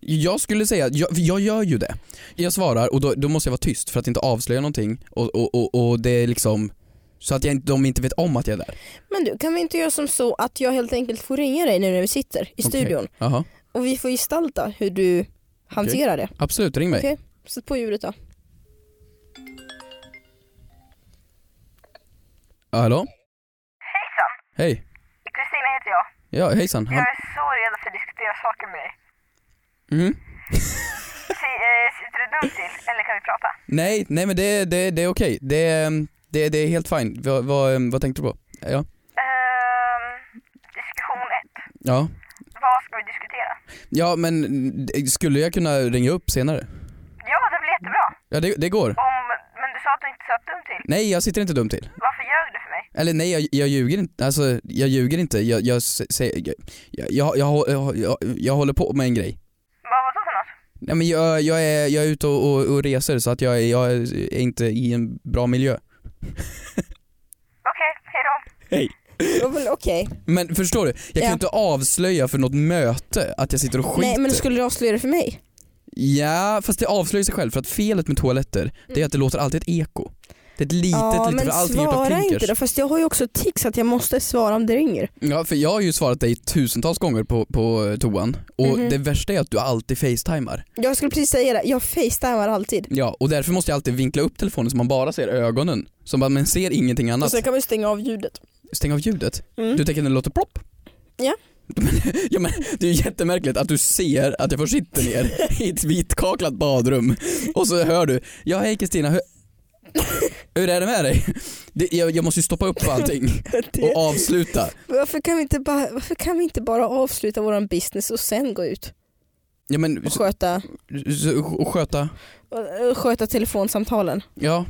[SPEAKER 2] Jag skulle säga, jag, jag gör ju det. Jag svarar och då, då måste jag vara tyst för att inte avslöja någonting och, och, och, och det är liksom så att jag, inte- de inte vet om att jag är där.
[SPEAKER 3] Men du, kan vi inte göra som så att jag helt enkelt får ringa dig nu när vi sitter i studion
[SPEAKER 2] Jaha,
[SPEAKER 3] och vi får gestalta hur du hanterar det.
[SPEAKER 2] absolut ring mig.
[SPEAKER 3] Okej? Sätt på ljudet då.
[SPEAKER 2] Ja, Hallå?
[SPEAKER 5] Hejsan!
[SPEAKER 2] Hej.
[SPEAKER 5] Kristina heter jag.
[SPEAKER 2] Ja hejsan. Han...
[SPEAKER 5] Jag är så redo för att diskutera saker med dig.
[SPEAKER 2] Mhm.
[SPEAKER 5] Si- eh, Sitter du dumt till eller kan vi prata?
[SPEAKER 2] Nej, nej men det, det, det är okej. Det, ehm, det, det är helt fine. Vad, vad, ehm, vad tänkte du på? Ja.
[SPEAKER 5] Ehm, diskussion 1.
[SPEAKER 2] Ja.
[SPEAKER 5] Vad ska vi diskutera?
[SPEAKER 2] Ja men mm, skulle jag kunna ringa upp senare?
[SPEAKER 5] Ja, det blir jättebra.
[SPEAKER 2] Ja det, det går.
[SPEAKER 5] Om, men du sa att du inte satt dumt till.
[SPEAKER 2] Nej jag sitter inte dumt till.
[SPEAKER 5] Varför ljög du för mig?
[SPEAKER 2] Eller nej jag, jag ljuger inte, alltså jag ljuger inte. Jag, jag, sä- säger- jag, jag, jag, jag, jag, jag håller på med en grej.
[SPEAKER 5] Vad var det för något?
[SPEAKER 2] Nej men jag, jag, är, jag är ute och, och, och reser så att jag, är- jag är inte i en bra miljö.
[SPEAKER 5] Okej, hejdå.
[SPEAKER 2] Hej.
[SPEAKER 3] Det var väl Okej.
[SPEAKER 2] Men förstår du, jag kan ju
[SPEAKER 3] Ja.
[SPEAKER 2] inte avslöja för något möte att jag sitter och skiter.
[SPEAKER 3] Nej men skulle du avslöja det för mig?
[SPEAKER 2] Ja, fast det avslöjar sig själv för att felet med toaletter det är att det låter alltid ett eko. Det är ett litet,
[SPEAKER 3] Mm. ja
[SPEAKER 2] litet,
[SPEAKER 3] men
[SPEAKER 2] för allting är gjort av
[SPEAKER 3] svara inte
[SPEAKER 2] klinkers.
[SPEAKER 3] då, fast jag har ju också tics att jag måste svara om det ringer.
[SPEAKER 2] Ja, för jag har ju svarat dig tusentals gånger på, på eh, toan och
[SPEAKER 3] Mhm.
[SPEAKER 2] det värsta är att du alltid facetimar.
[SPEAKER 3] Jag skulle precis säga det, jag facetimar alltid.
[SPEAKER 2] Ja, och därför måste jag alltid vinkla upp telefonen så man bara ser ögonen. Så man, man ser ingenting
[SPEAKER 3] Och
[SPEAKER 2] annat.
[SPEAKER 3] sen kan man ju stänga av ljudet.
[SPEAKER 2] Stäng av ljudet.
[SPEAKER 3] Mm.
[SPEAKER 2] Du tänker att det låter plopp?
[SPEAKER 3] Ja.
[SPEAKER 2] ja men det är ju jättemärkligt att du ser att jag får sitta ner i ett vitkaklat badrum och så hör du, ja hej Kristina, hur, hur är det med dig? Det, jag, jag måste ju stoppa upp allting och avsluta.
[SPEAKER 3] Varför, kan vi inte bara, varför kan vi inte bara avsluta våran business och sen gå ut
[SPEAKER 2] Ja men,
[SPEAKER 3] och
[SPEAKER 2] så,
[SPEAKER 3] sköta,
[SPEAKER 2] så, och sköta,
[SPEAKER 3] och- och sköta telefonsamtalen?
[SPEAKER 2] ja.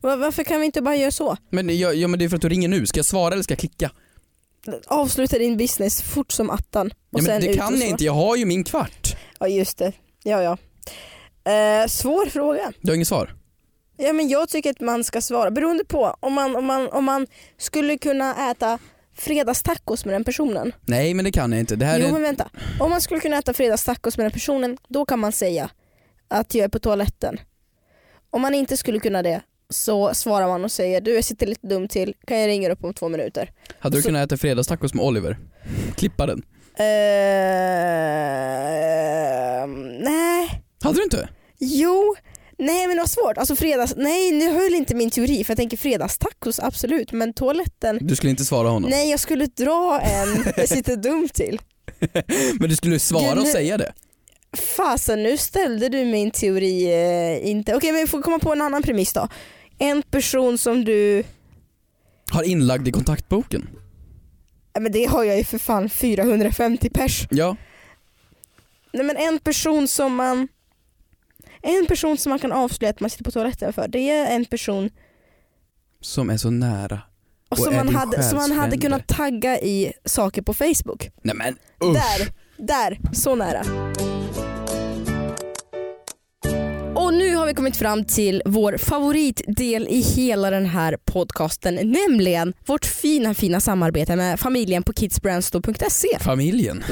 [SPEAKER 3] Va- Varför kan vi inte bara göra så?
[SPEAKER 2] Men, ja, ja men det är för att du ringer nu, ska jag svara eller ska jag klicka?
[SPEAKER 3] Avsluta din business fort som attan. Och
[SPEAKER 2] Ja, men
[SPEAKER 3] sen
[SPEAKER 2] det
[SPEAKER 3] ut
[SPEAKER 2] kan
[SPEAKER 3] och
[SPEAKER 2] jag
[SPEAKER 3] svara.
[SPEAKER 2] inte, jag har ju min kvart.
[SPEAKER 3] Ja just det, ja ja. Eh, svår fråga.
[SPEAKER 2] Du har inget svar?
[SPEAKER 3] Ja, men jag tycker att man ska svara beroende på om man, om man, om man skulle kunna äta fredagstacos med den personen.
[SPEAKER 2] Nej men det kan jag inte, det här
[SPEAKER 3] jo
[SPEAKER 2] är
[SPEAKER 3] men vänta, om man skulle kunna äta fredagstacos med den personen då kan man säga att jag är på toaletten. Om man inte skulle kunna det så svarar man och säger du jag sitter lite dum till, kan jag ringa upp om två minuter?
[SPEAKER 2] Hade du
[SPEAKER 3] Så-
[SPEAKER 2] kunnat äta fredagstacos med Oliver? Klippa den?
[SPEAKER 3] Ehm, nej,
[SPEAKER 2] Hade du inte?
[SPEAKER 3] Jo, nej men det var svårt. Alltså fredags, nej nu höll inte min teori för jag tänker fredagstacos absolut men toaletten,
[SPEAKER 2] Du skulle inte svara honom?
[SPEAKER 3] nej jag skulle dra en, jag sitter dumt till.
[SPEAKER 2] Men du skulle svara
[SPEAKER 3] Gud,
[SPEAKER 2] och
[SPEAKER 3] nu-
[SPEAKER 2] säga det?
[SPEAKER 3] Fasen nu ställde du min teori eh, inte, okej men vi får komma på en annan premiss då. En person som du,
[SPEAKER 2] Har inlagd i kontaktboken?
[SPEAKER 3] ja, men det har jag ju för fan 450 pers.
[SPEAKER 2] Ja.
[SPEAKER 3] Nej men en person som man en person som man kan avslöja att man sitter på toaletten för, det är en person
[SPEAKER 2] Som är så nära.
[SPEAKER 3] och
[SPEAKER 2] Och
[SPEAKER 3] som,
[SPEAKER 2] är
[SPEAKER 3] man
[SPEAKER 2] din
[SPEAKER 3] hade, som man hade
[SPEAKER 2] själsfrände.
[SPEAKER 3] kunnat tagga i saker på Facebook.
[SPEAKER 2] Nej men usch.
[SPEAKER 3] Där, där, så nära. Och nu har vi kommit fram till vår favoritdel i hela den här podcasten, nämligen vårt fina, fina samarbete med familjen på kidsbrandstore.se.
[SPEAKER 2] Familjen.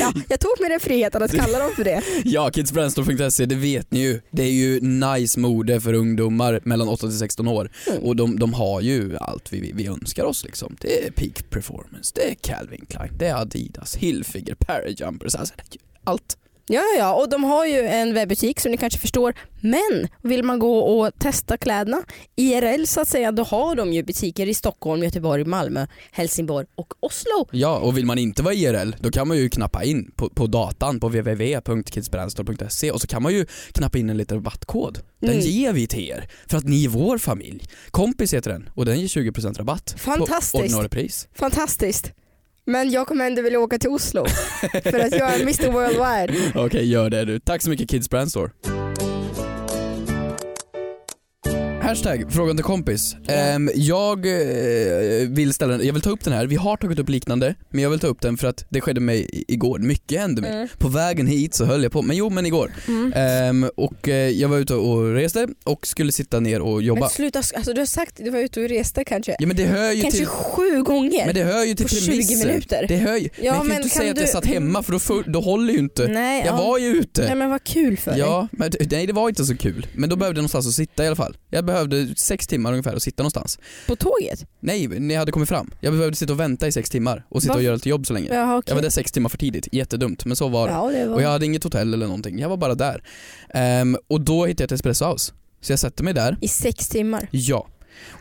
[SPEAKER 3] Ja, jag tog mig den friheten att kalla dem för det.
[SPEAKER 2] Ja, kidsbrandstore.se, det vet ni ju. Det är ju nice mode för ungdomar mellan 8 till 16 år.
[SPEAKER 3] Mm.
[SPEAKER 2] Och de, de har ju allt vi, vi önskar oss liksom. Det är peak performance, det är Calvin Klein, det är Adidas, Hillfigure, Parajumpers, alltså det är ju allt.
[SPEAKER 3] Ja, ja, ja, och de har ju en webbutik som ni kanske förstår. Men vill man gå och testa kläderna IRL så att säga, då har de ju butiker i Stockholm, Göteborg, Malmö, Helsingborg och Oslo.
[SPEAKER 2] Ja, och vill man inte vara IRL, då kan man ju knappa in på, på datan på www.kidsbränstorp.se och så kan man ju knappa in en liten rabattkod. Den
[SPEAKER 3] Mm.
[SPEAKER 2] ger vi till er, för att ni är vår familj. Kompis heter den och den ger 20% rabatt
[SPEAKER 3] Fantastiskt.
[SPEAKER 2] på ordinarie pris.
[SPEAKER 3] Fantastiskt. Men jag kommer ändå vilja åka till Oslo för att jag är Mr Worldwide.
[SPEAKER 2] Okej, gör det du. Tack så mycket Kids Brand Store. Hashtag frågan till kompis. Ehm, jag eh, vill ställa den, jag vill ta upp den här, vi har tagit upp liknande men jag vill ta upp den för att det skedde mig i- igår, mycket hände mig.
[SPEAKER 3] Mm.
[SPEAKER 2] På vägen hit så höll jag på, men jo men igår. Ehm, och eh, jag var ute och reste och skulle sitta ner och jobba.
[SPEAKER 3] Men sluta, alltså du har sagt du var ute och reste kanske.
[SPEAKER 2] Ja men det hör ju
[SPEAKER 3] Kanske
[SPEAKER 2] till
[SPEAKER 3] sju gånger.
[SPEAKER 2] men det hör ju till
[SPEAKER 3] på 20
[SPEAKER 2] premisser.
[SPEAKER 3] minuter.
[SPEAKER 2] Det hör ju.
[SPEAKER 3] Ja,
[SPEAKER 2] men jag kan ju
[SPEAKER 3] men
[SPEAKER 2] inte
[SPEAKER 3] kan
[SPEAKER 2] säga att jag
[SPEAKER 3] du-
[SPEAKER 2] satt hemma för då, full, då håller ju inte.
[SPEAKER 3] Nej,
[SPEAKER 2] jag
[SPEAKER 3] ja.
[SPEAKER 2] var ju ute.
[SPEAKER 3] Nej men vad kul för dig.
[SPEAKER 2] Ja, men, det- nej det var inte så kul. Men då behövde jag någonstans att sitta i alla fall. Jag behövde sex timmar ungefär att sitta någonstans.
[SPEAKER 3] På tåget?
[SPEAKER 2] Nej, när jag hade kommit fram. Jag behövde sitta och vänta i sex timmar och sitta
[SPEAKER 3] Va?
[SPEAKER 2] och göra lite jobb så länge.
[SPEAKER 3] Jaha,
[SPEAKER 2] Jag
[SPEAKER 3] okej.
[SPEAKER 2] var där sex timmar för tidigt, jättedumt men så var det.
[SPEAKER 3] Ja, det var...
[SPEAKER 2] Och jag hade inget hotell eller någonting, jag var bara där. Ehm, och då hittade jag ett espresso house. Så jag sätter mig där,
[SPEAKER 3] I sex timmar.
[SPEAKER 2] ja.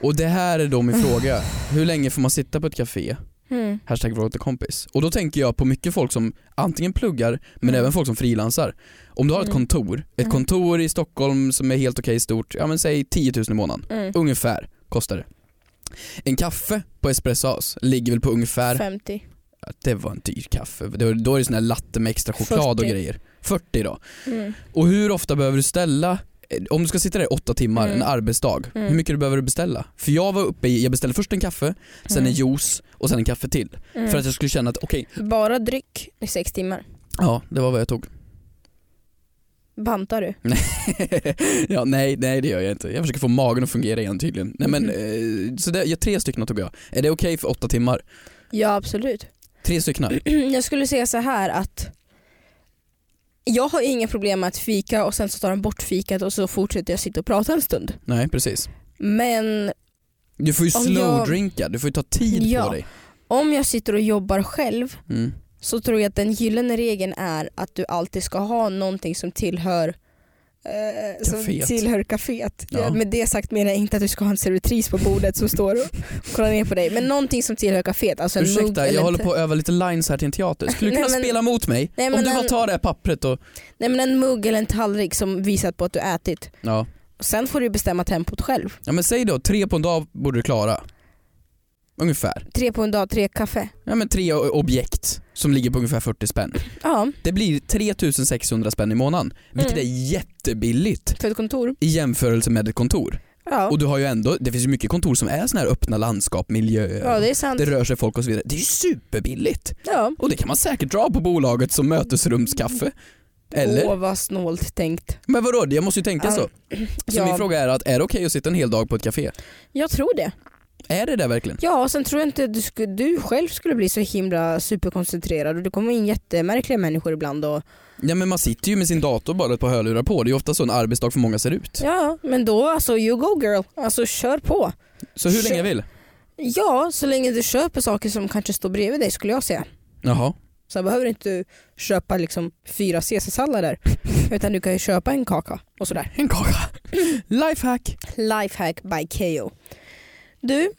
[SPEAKER 2] Och det här är då min fråga, hur länge får man sitta på ett café?
[SPEAKER 3] Mm.
[SPEAKER 2] Hashtag fråga till kompis. Och då tänker jag på mycket folk som antingen pluggar men
[SPEAKER 3] Mm.
[SPEAKER 2] även folk som frilansar. Om du har ett kontor, ett kontor i Stockholm som är helt okej stort, ja men säg 10 000 i månaden.
[SPEAKER 3] Mm.
[SPEAKER 2] Ungefär kostar det. En kaffe på Espresso House ligger väl på ungefär,
[SPEAKER 3] 50.
[SPEAKER 2] Ja, det var en dyr kaffe, Det var- då är det sån här latte med extra choklad
[SPEAKER 3] 40.
[SPEAKER 2] och grejer. 40 då.
[SPEAKER 3] Mm.
[SPEAKER 2] Och hur ofta behöver du ställa eh, om du ska sitta där i åtta timmar,
[SPEAKER 3] Mm.
[SPEAKER 2] en arbetsdag,
[SPEAKER 3] Mm.
[SPEAKER 2] hur mycket du behöver du beställa? För jag var uppe i, jag beställde först en kaffe, sen en juice och sen en kaffe till.
[SPEAKER 3] Mm.
[SPEAKER 2] För att jag skulle känna att okej,
[SPEAKER 3] Bara dryck i sex timmar.
[SPEAKER 2] Ja, det var vad jag tog.
[SPEAKER 3] Bantar du?
[SPEAKER 2] Mm. ja, nej, nej det gör jag inte. Jag försöker få magen att fungera igen tydligen. Nej, men,
[SPEAKER 3] Mm.
[SPEAKER 2] eh, så det, ja, tre stycken tog jag. Är det okej för åtta timmar?
[SPEAKER 3] Ja absolut.
[SPEAKER 2] Tre stycken?
[SPEAKER 3] Jag skulle säga så här att jag har inga problem med att fika och sen så tar de bort fikat och så fortsätter jag sitta och prata en stund.
[SPEAKER 2] Nej, precis.
[SPEAKER 3] Men
[SPEAKER 2] Du får ju
[SPEAKER 3] Om jag-
[SPEAKER 2] slowdrinka, du får ju ta tid
[SPEAKER 3] Ja.
[SPEAKER 2] på dig.
[SPEAKER 3] om jag sitter och jobbar själv
[SPEAKER 2] Mm.
[SPEAKER 3] så tror jag att den gyllene regeln är att du alltid ska ha någonting som tillhör eh, som
[SPEAKER 2] Caféet.
[SPEAKER 3] tillhör kaféet.
[SPEAKER 2] Ja.
[SPEAKER 3] Ja. Med det sagt menar jag inte att du ska ha en servitris på bordet som står och kollar ner på dig. Men någonting som tillhör kaféet. Alltså en mugg
[SPEAKER 2] Ursäkta,
[SPEAKER 3] eller
[SPEAKER 2] jag
[SPEAKER 3] en
[SPEAKER 2] håller
[SPEAKER 3] te-
[SPEAKER 2] på att öva lite lines här till en teater. Skulle du
[SPEAKER 3] Nej,
[SPEAKER 2] kunna
[SPEAKER 3] men-
[SPEAKER 2] spela mot mig?
[SPEAKER 3] Nej,
[SPEAKER 2] Om
[SPEAKER 3] men
[SPEAKER 2] du bara
[SPEAKER 3] en-
[SPEAKER 2] tar det här pappret och...
[SPEAKER 3] Nej men en mugg eller en tallrik som visar på att du ätit.
[SPEAKER 2] Ja.
[SPEAKER 3] Och Sen får du bestämma tempot själv.
[SPEAKER 2] ja men säg då, tre på en dag borde du klara. Ungefär.
[SPEAKER 3] Tre på en dag, tre kaffe.
[SPEAKER 2] Ja men tre o- objekt som ligger på ungefär 40 spänn.
[SPEAKER 3] Ja,
[SPEAKER 2] Det blir 3600 spänn i månaden, vilket
[SPEAKER 3] Mm.
[SPEAKER 2] är jättebilligt.
[SPEAKER 3] för ett kontor.
[SPEAKER 2] i jämförelse med ett kontor.
[SPEAKER 3] Ja,
[SPEAKER 2] Och du har ju ändå, det finns ju mycket kontor som är såna här öppna landskap, miljöer,
[SPEAKER 3] ja det är sant.
[SPEAKER 2] det rör sig folk och så vidare. Det är ju superbilligt!
[SPEAKER 3] Ja.
[SPEAKER 2] Och det kan man säkert dra på bolaget som mötesrumskaffe. Eller?
[SPEAKER 3] Mm. Åh vad snålt tänkt.
[SPEAKER 2] Men vadå, jag måste ju tänka
[SPEAKER 3] Ja.
[SPEAKER 2] så. Så
[SPEAKER 3] Ja.
[SPEAKER 2] min fråga är att är det okej att sitta en hel dag på ett café?
[SPEAKER 3] Jag tror det.
[SPEAKER 2] Är det det verkligen?
[SPEAKER 3] Ja, och sen tror jag inte du, sku, du själv skulle bli så himla superkoncentrerad och det kommer in jättemärkliga människor ibland. Och,
[SPEAKER 2] Ja men man sitter ju med sin dator bara ett par hörlurar på, det är ju ofta så en arbetsdag för många ser ut.
[SPEAKER 3] ja, men då alltså you go girl. Alltså kör på.
[SPEAKER 2] Så hur länge jag vill?
[SPEAKER 3] Ja, så länge du köper saker som kanske står bredvid dig skulle jag säga.
[SPEAKER 2] Jaha.
[SPEAKER 3] Sen behöver du inte köpa liksom fyra caesarsallader utan du kan ju köpa en kaka och sådär.
[SPEAKER 2] En kaka. Lifehack.
[SPEAKER 3] Lifehack by KO. Du,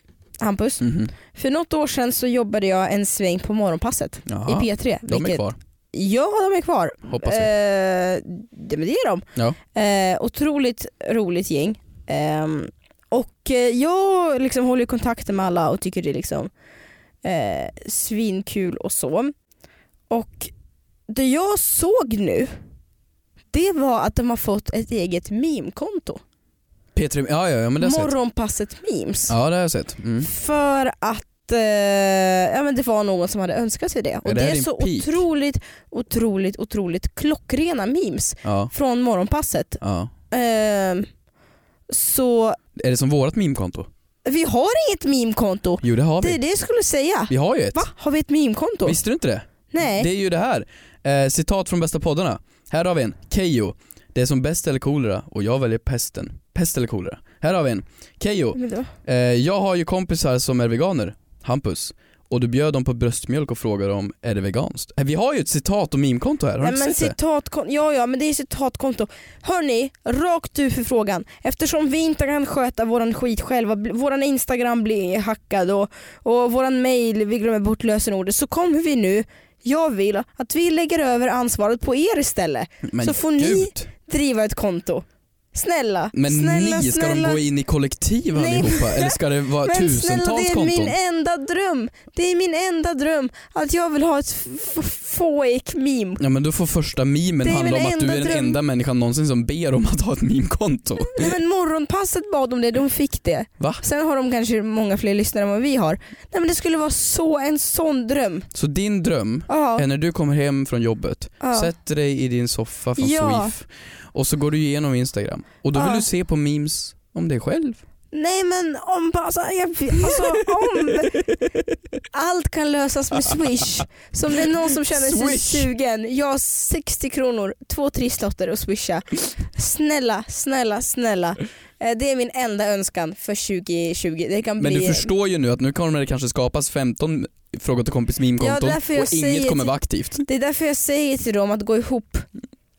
[SPEAKER 3] Hampus.
[SPEAKER 2] Mhm.
[SPEAKER 3] För något år sedan så jobbade jag en sväng på morgonpasset
[SPEAKER 2] Jaha.
[SPEAKER 3] i P3.
[SPEAKER 2] De är kvar,
[SPEAKER 3] Ja, de är kvar.
[SPEAKER 2] hoppas jag.
[SPEAKER 3] Eh, det, men det är de.
[SPEAKER 2] Ja.
[SPEAKER 3] Eh, otroligt roligt gäng. Ehm, och eh, jag liksom håller kontakten med alla och tycker det är liksom, eh, svinkul och så. Och det jag såg nu, det var att de har fått ett eget meme-konto.
[SPEAKER 2] P3, ja ja, ja men det har jag sett.
[SPEAKER 3] Morgonpasset memes.
[SPEAKER 2] Ja det har jag sett. Mm.
[SPEAKER 3] För att eh, ja, men det var någon som hade önskat sig det. Och
[SPEAKER 2] Är det
[SPEAKER 3] det
[SPEAKER 2] här
[SPEAKER 3] är
[SPEAKER 2] din
[SPEAKER 3] så
[SPEAKER 2] peak?
[SPEAKER 3] otroligt, otroligt, otroligt klockrena memes
[SPEAKER 2] Ja,
[SPEAKER 3] från morgonpasset.
[SPEAKER 2] ja.
[SPEAKER 3] Ehm, så
[SPEAKER 2] Är det som vårat meme-konto?
[SPEAKER 3] vi har inget meme-konto.
[SPEAKER 2] Jo det har
[SPEAKER 3] Det
[SPEAKER 2] vi.
[SPEAKER 3] är det jag skulle säga.
[SPEAKER 2] Vi har ju ett.
[SPEAKER 3] Va? Har vi ett meme-konto?
[SPEAKER 2] Visste du inte det?
[SPEAKER 3] Nej.
[SPEAKER 2] Det är ju det här. Eh, citat från bästa poddarna. Här har vi en. Kejo. Det är som bäst eller kolera och jag väljer pesten. Pest eller kolera. Här har vi en. Kejo.
[SPEAKER 3] Men då-
[SPEAKER 2] Eh, jag har ju kompisar som är veganer. Hampus. och du bjöd dem på bröstmjölk och frågade dem, är det veganskt? Eh, Vi har ju ett citat och mimkonto här, har du
[SPEAKER 3] Nej,
[SPEAKER 2] inte
[SPEAKER 3] men
[SPEAKER 2] sett det?
[SPEAKER 3] citatkonto, ja ja men det är citatkonto. Hörni, rakt ut för frågan. Eftersom vi inte kan sköta våran skit själva, bl- våran instagram blir hackad och, och våran mail, vi glömmer bort lösenordet, så kommer vi nu, jag vill att vi lägger över ansvaret på er istället.
[SPEAKER 2] Men
[SPEAKER 3] så får ni
[SPEAKER 2] gud.
[SPEAKER 3] driva ett konto. Snälla,
[SPEAKER 2] Men
[SPEAKER 3] snälla,
[SPEAKER 2] ni, ska
[SPEAKER 3] snälla.
[SPEAKER 2] de gå in i kollektiv
[SPEAKER 3] Nej.
[SPEAKER 2] allihopa? Eller ska det vara tusentals
[SPEAKER 3] det är
[SPEAKER 2] konton?
[SPEAKER 3] min enda dröm. Det är min enda dröm att jag vill ha ett f- f- fake meme.
[SPEAKER 2] Ja men då får första
[SPEAKER 3] Det
[SPEAKER 2] memen
[SPEAKER 3] är
[SPEAKER 2] handla
[SPEAKER 3] min
[SPEAKER 2] om att du
[SPEAKER 3] enda
[SPEAKER 2] är den
[SPEAKER 3] dröm.
[SPEAKER 2] enda människan någonsin som ber om att ha ett meme-konto.
[SPEAKER 3] Nej, men morgonpasset bad om det, de fick det.
[SPEAKER 2] Va?
[SPEAKER 3] Sen har de kanske många fler lyssnare än vad vi har. Nej men det skulle vara så en sån dröm.
[SPEAKER 2] Så din dröm
[SPEAKER 3] Ja.
[SPEAKER 2] är när du kommer hem från jobbet,
[SPEAKER 3] Ja.
[SPEAKER 2] sätter dig i din soffa från
[SPEAKER 3] Ja.
[SPEAKER 2] Swift och så går du igenom Instagram och då
[SPEAKER 3] Ja.
[SPEAKER 2] vill du se på memes om dig själv.
[SPEAKER 3] Nej men om bara så här, jag, alltså om allt kan lösas med swish. Så om det är någon som känner sig
[SPEAKER 2] Swish.
[SPEAKER 3] sugen, jag har 60 kronor, två trisslotter och swisha. Snälla, snälla, snälla. Eh, Det är min enda önskan för 2020. Det kan
[SPEAKER 2] Men
[SPEAKER 3] bli...
[SPEAKER 2] du förstår ju nu att nu kommer det kanske skapas 15 frågor till kompis meme-konton
[SPEAKER 3] Ja, därför jag
[SPEAKER 2] och inget
[SPEAKER 3] säger typ-
[SPEAKER 2] kommer
[SPEAKER 3] till-
[SPEAKER 2] vara aktivt.
[SPEAKER 3] Det är därför jag säger till dem att gå ihop,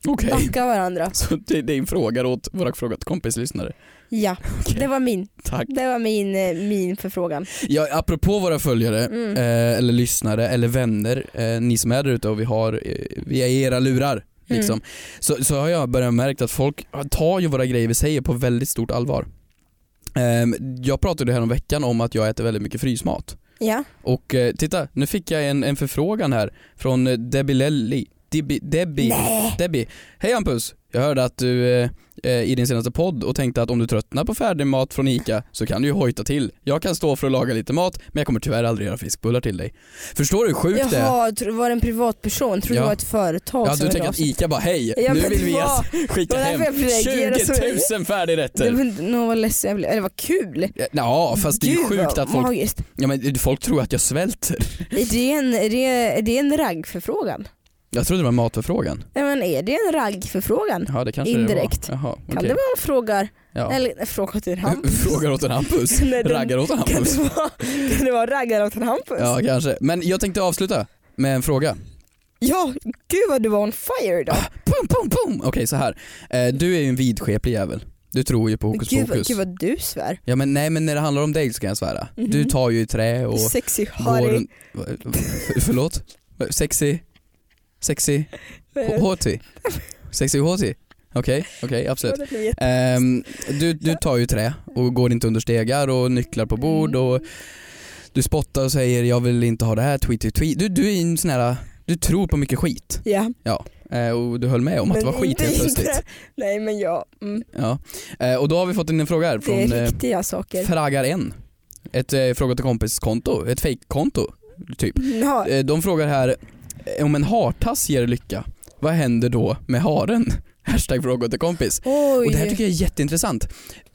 [SPEAKER 2] Okej.
[SPEAKER 3] backa varandra.
[SPEAKER 2] Så det är din fråga åt våra fråga till kompislyssnare.
[SPEAKER 3] Ja,
[SPEAKER 2] Okej.
[SPEAKER 3] det var min.
[SPEAKER 2] Tack.
[SPEAKER 3] Det var min, eh, min förfrågan.
[SPEAKER 2] Ja, apropå våra följare, eh, eller lyssnare, eller vänner, eh, ni som är där ute och vi har, eh, vi är i era lurar. Liksom. Så, så har jag börjat märkt att folk tar ju våra grejer vi säger på väldigt stort allvar. Ehm, jag pratade här om veckan om att jag äter väldigt mycket frysmat.
[SPEAKER 3] Ja.
[SPEAKER 2] Och eh, titta, nu fick jag en, en förfrågan här från eh, Debbie Lelli. Debbie, Debbie, Debbie. Hej Hampus, jag hörde att du eh, eh, i din senaste podd och tänkte att om du tröttnar på färdig mat från ICA så kan du ju hojta till. Jag kan stå för att laga lite mat men jag kommer tyvärr aldrig göra fiskbullar till dig. Förstår du hur sjukt det är?
[SPEAKER 3] Jaha, tro- var det en privatperson? Tror
[SPEAKER 2] Ja.
[SPEAKER 3] det var ett företag
[SPEAKER 2] Ja,
[SPEAKER 3] som
[SPEAKER 2] du
[SPEAKER 3] hörde
[SPEAKER 2] tänker
[SPEAKER 3] av
[SPEAKER 2] att
[SPEAKER 3] sig.
[SPEAKER 2] ICA bara hej,
[SPEAKER 3] Ja,
[SPEAKER 2] nu
[SPEAKER 3] men
[SPEAKER 2] vill vi
[SPEAKER 3] vad-
[SPEAKER 2] att skicka
[SPEAKER 3] det var
[SPEAKER 2] hem
[SPEAKER 3] därför jag
[SPEAKER 2] 20
[SPEAKER 3] reagerade så.
[SPEAKER 2] 000
[SPEAKER 3] Det
[SPEAKER 2] färdigrätter.
[SPEAKER 3] var inte- Någon var ledsen jag blev. Eller vad kul!
[SPEAKER 2] Ja fast Typ. det är ju
[SPEAKER 3] Gud,
[SPEAKER 2] sjukt
[SPEAKER 3] vad
[SPEAKER 2] att folk,
[SPEAKER 3] magiskt.
[SPEAKER 2] ja, men folk tror att jag svälter.
[SPEAKER 3] Är det en, är det, är det en raggförfrågan?
[SPEAKER 2] Jag trodde det var matförfrågan.
[SPEAKER 3] Nej men är det en raggförfrågan?
[SPEAKER 2] Ja det kanske
[SPEAKER 3] Indirekt.
[SPEAKER 2] det var. Jaha,
[SPEAKER 3] Kan
[SPEAKER 2] okej.
[SPEAKER 3] det vara en fråga?
[SPEAKER 2] Ja.
[SPEAKER 3] Eller en fråga till Hampus?
[SPEAKER 2] Frågar åt en Hampus.
[SPEAKER 3] Nej, den-
[SPEAKER 2] Raggar åt en
[SPEAKER 3] Kan
[SPEAKER 2] Hampus.
[SPEAKER 3] det vara, kan det vara raggar åt en Hampus?
[SPEAKER 2] Ja kanske. Men jag tänkte avsluta med en fråga.
[SPEAKER 3] ja, gud vad du var on fire idag.
[SPEAKER 2] Pum, pum, pum. Okej så här. Eh, Du är ju en vidskeplig jävel. Du tror ju på hokus
[SPEAKER 3] gud, vad-
[SPEAKER 2] pokus.
[SPEAKER 3] gud vad Mhm. du svär.
[SPEAKER 2] Ja men nej men när det handlar om dig ska jag svära. Du tar ju i trä och
[SPEAKER 3] Sexy
[SPEAKER 2] går
[SPEAKER 3] Harry.
[SPEAKER 2] runt... För- Förlåt? Sexy? Sexy?
[SPEAKER 3] Eh.
[SPEAKER 2] H- HT? Sexy HT? Okej, okej absolut.
[SPEAKER 3] Det blir jätte-
[SPEAKER 2] Ehm, du, du tar ju trä och går inte under stegar och nycklar på bord
[SPEAKER 3] Mm.
[SPEAKER 2] och du spottar och säger jag vill inte ha det här, tweet, tweet, tweet. Du, du är ju en sån här, du tror på mycket skit.
[SPEAKER 3] Ja.
[SPEAKER 2] Ja, eh, och du höll med om att det var
[SPEAKER 3] Men
[SPEAKER 2] skit helt
[SPEAKER 3] inte-
[SPEAKER 2] plötsligt.
[SPEAKER 3] Nej men ja, mm,
[SPEAKER 2] Ja. Eh, Och då har vi fått in en fråga här
[SPEAKER 3] det är
[SPEAKER 2] från eh,
[SPEAKER 3] riktiga saker.
[SPEAKER 2] Fragar N. Ett eh, fråga till kompis-konto, ett fake-konto typ.
[SPEAKER 3] Ja,
[SPEAKER 2] Eh, De frågar här eh, om en hartass ger lycka, vad händer då med haren? Hashtag fråga till kompis.
[SPEAKER 3] oj.
[SPEAKER 2] Och det här tycker jag är jätteintressant.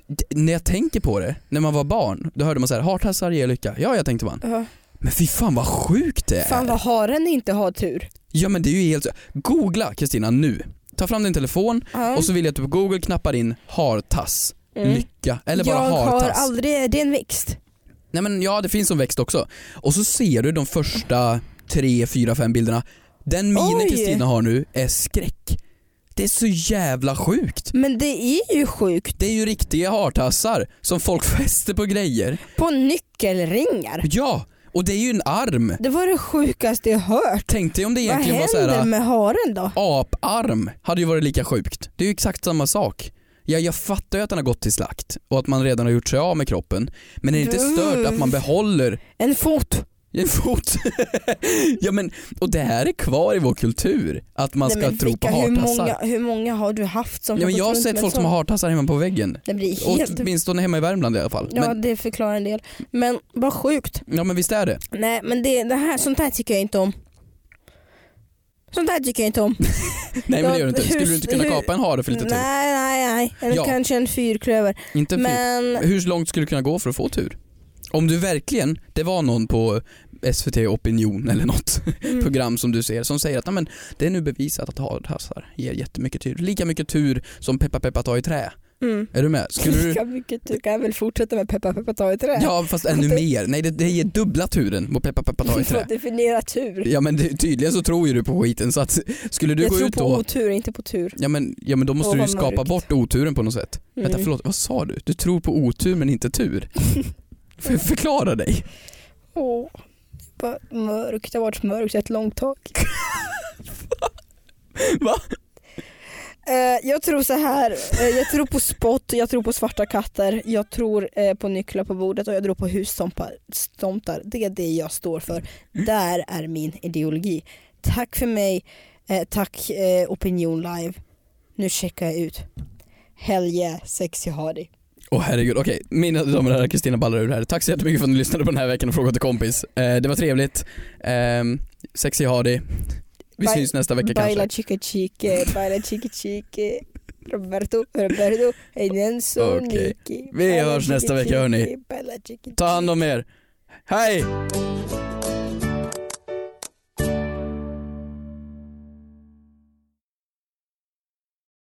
[SPEAKER 2] D- när jag tänker på det, när man var barn, då hörde man så här hartassar ger lycka. Ja, jag tänkte man.
[SPEAKER 3] Ja.
[SPEAKER 2] Men fy fan vad sjukt det är.
[SPEAKER 3] Fan vad haren inte har tur.
[SPEAKER 2] Ja men det är ju helt... Googla Kristina nu. Ta fram din telefon
[SPEAKER 3] Ja. Mm.
[SPEAKER 2] och så vill jag att du på google knappar in hartass. Lycka eller bara
[SPEAKER 3] jag har
[SPEAKER 2] hartass.
[SPEAKER 3] aldrig, det är en växt.
[SPEAKER 2] Nej men ja det finns som växt också. Och så ser du de första tre, fyra, fem bilderna. Den minen
[SPEAKER 3] Oj.
[SPEAKER 2] Kristina har nu är skräck. Det är så jävla sjukt.
[SPEAKER 3] Men det är ju sjukt.
[SPEAKER 2] Det är ju riktiga hartassar som folk fäster på grejer.
[SPEAKER 3] På nyckelringar.
[SPEAKER 2] Ja, och det är ju en arm.
[SPEAKER 3] Det var det sjukaste jag hört.
[SPEAKER 2] Tänk dig om det
[SPEAKER 3] Vad
[SPEAKER 2] egentligen var så
[SPEAKER 3] händer
[SPEAKER 2] här äh,
[SPEAKER 3] med haren då?
[SPEAKER 2] aparm, hade ju varit lika sjukt. Det är ju exakt samma sak. Ja, jag fattar ju att den har gått till slakt och att man redan har gjort sig av med kroppen. Men är det inte stört att man behåller
[SPEAKER 3] En fot.
[SPEAKER 2] en fot? ja men, och det här är kvar i vår kultur. Att man
[SPEAKER 3] Nej,
[SPEAKER 2] ska
[SPEAKER 3] men
[SPEAKER 2] tro på
[SPEAKER 3] vilka- hur många,
[SPEAKER 2] hartassar.
[SPEAKER 3] hur många har du haft som
[SPEAKER 2] Ja, men
[SPEAKER 3] gått
[SPEAKER 2] jag har
[SPEAKER 3] runt med
[SPEAKER 2] sett
[SPEAKER 3] en
[SPEAKER 2] folk som
[SPEAKER 3] sån?
[SPEAKER 2] har hartassar hemma på väggen.
[SPEAKER 3] Det blir helt...
[SPEAKER 2] Åtminstone hemma i Värmland i alla fall.
[SPEAKER 3] Ja
[SPEAKER 2] men,
[SPEAKER 3] det förklarar en del. Men vad sjukt.
[SPEAKER 2] ja men visst är det.
[SPEAKER 3] Nej men det, det här, sånt här tycker jag inte om. Sånt här tycker jag inte om.
[SPEAKER 2] Nej men
[SPEAKER 3] Ja,
[SPEAKER 2] det gör det inte.
[SPEAKER 3] hur-
[SPEAKER 2] Skulle du inte kunna
[SPEAKER 3] hur-
[SPEAKER 2] kapa en hare för lite tur?
[SPEAKER 3] Nej, nej, nej. Eller
[SPEAKER 2] Ja.
[SPEAKER 3] kanske en fyrklöver.
[SPEAKER 2] Inte fint.
[SPEAKER 3] Men
[SPEAKER 2] Hur långt skulle du kunna gå för att få tur? Om du verkligen, det var någon på SVT Opinion eller något
[SPEAKER 3] Mm.
[SPEAKER 2] program som du ser som säger att "Nej, men, det är nu bevisat att hartassar ger jättemycket tur. Lika mycket tur som Peppa Peppa tar i trä.
[SPEAKER 3] Mm.
[SPEAKER 2] Är du med? Skulle du...
[SPEAKER 3] Lika mycket du kan väl fortsätta med peppa peppa ta i trä.
[SPEAKER 2] Ja fast ännu mer. Nej det, det ger dubbla turen på peppa peppa ta i
[SPEAKER 3] För
[SPEAKER 2] trä.
[SPEAKER 3] att definiera tur.
[SPEAKER 2] Ja men det, tydligen så tror ju du på skiten så att skulle du
[SPEAKER 3] jag
[SPEAKER 2] gå
[SPEAKER 3] tror
[SPEAKER 2] ut
[SPEAKER 3] på
[SPEAKER 2] då
[SPEAKER 3] otur, inte på tur.
[SPEAKER 2] Ja men, ja men då måste
[SPEAKER 3] Åh,
[SPEAKER 2] du ju
[SPEAKER 3] vad
[SPEAKER 2] skapa
[SPEAKER 3] mörkt.
[SPEAKER 2] bort oturen på något sätt.
[SPEAKER 3] Mm.
[SPEAKER 2] Vänta förlåt, vad sa du? Du tror på otur men inte tur? Får jag förklara dig?
[SPEAKER 3] Åh, det är bara mörkt. Det har varit mörkt ett långt tag.
[SPEAKER 2] Va?
[SPEAKER 3] Eh, jag tror så här. Eh, jag tror på spott, jag tror på svarta katter, jag tror eh, på nycklar på bordet och jag tror på hustomtar. Stomtar. Det är det jag står för. Där är min ideologi. Tack för mig. Eh, tack eh, Opinion Live. Nu checkar jag ut. Hell yeah, sexy hardy.
[SPEAKER 2] Åh herregud, okej. Mina damer och herrar, Kristina ballar ur här. Tack så jättemycket för att ni lyssnade på den här veckan och frågade till kompis. Eh, det var trevligt. Eh, sexy har det. Vi
[SPEAKER 3] Bye.
[SPEAKER 2] syns nästa vecka
[SPEAKER 3] Baila
[SPEAKER 2] kanske.
[SPEAKER 3] chica chica, baila chica chica. Roberto, Roberto, Enenso,
[SPEAKER 2] Okej.
[SPEAKER 3] Nicky.
[SPEAKER 2] Vi
[SPEAKER 3] Baila
[SPEAKER 2] hörs
[SPEAKER 3] chica
[SPEAKER 2] nästa vecka, hörni.
[SPEAKER 3] chica, baila chica
[SPEAKER 2] Ta hand om er. Hej!
[SPEAKER 3] chica.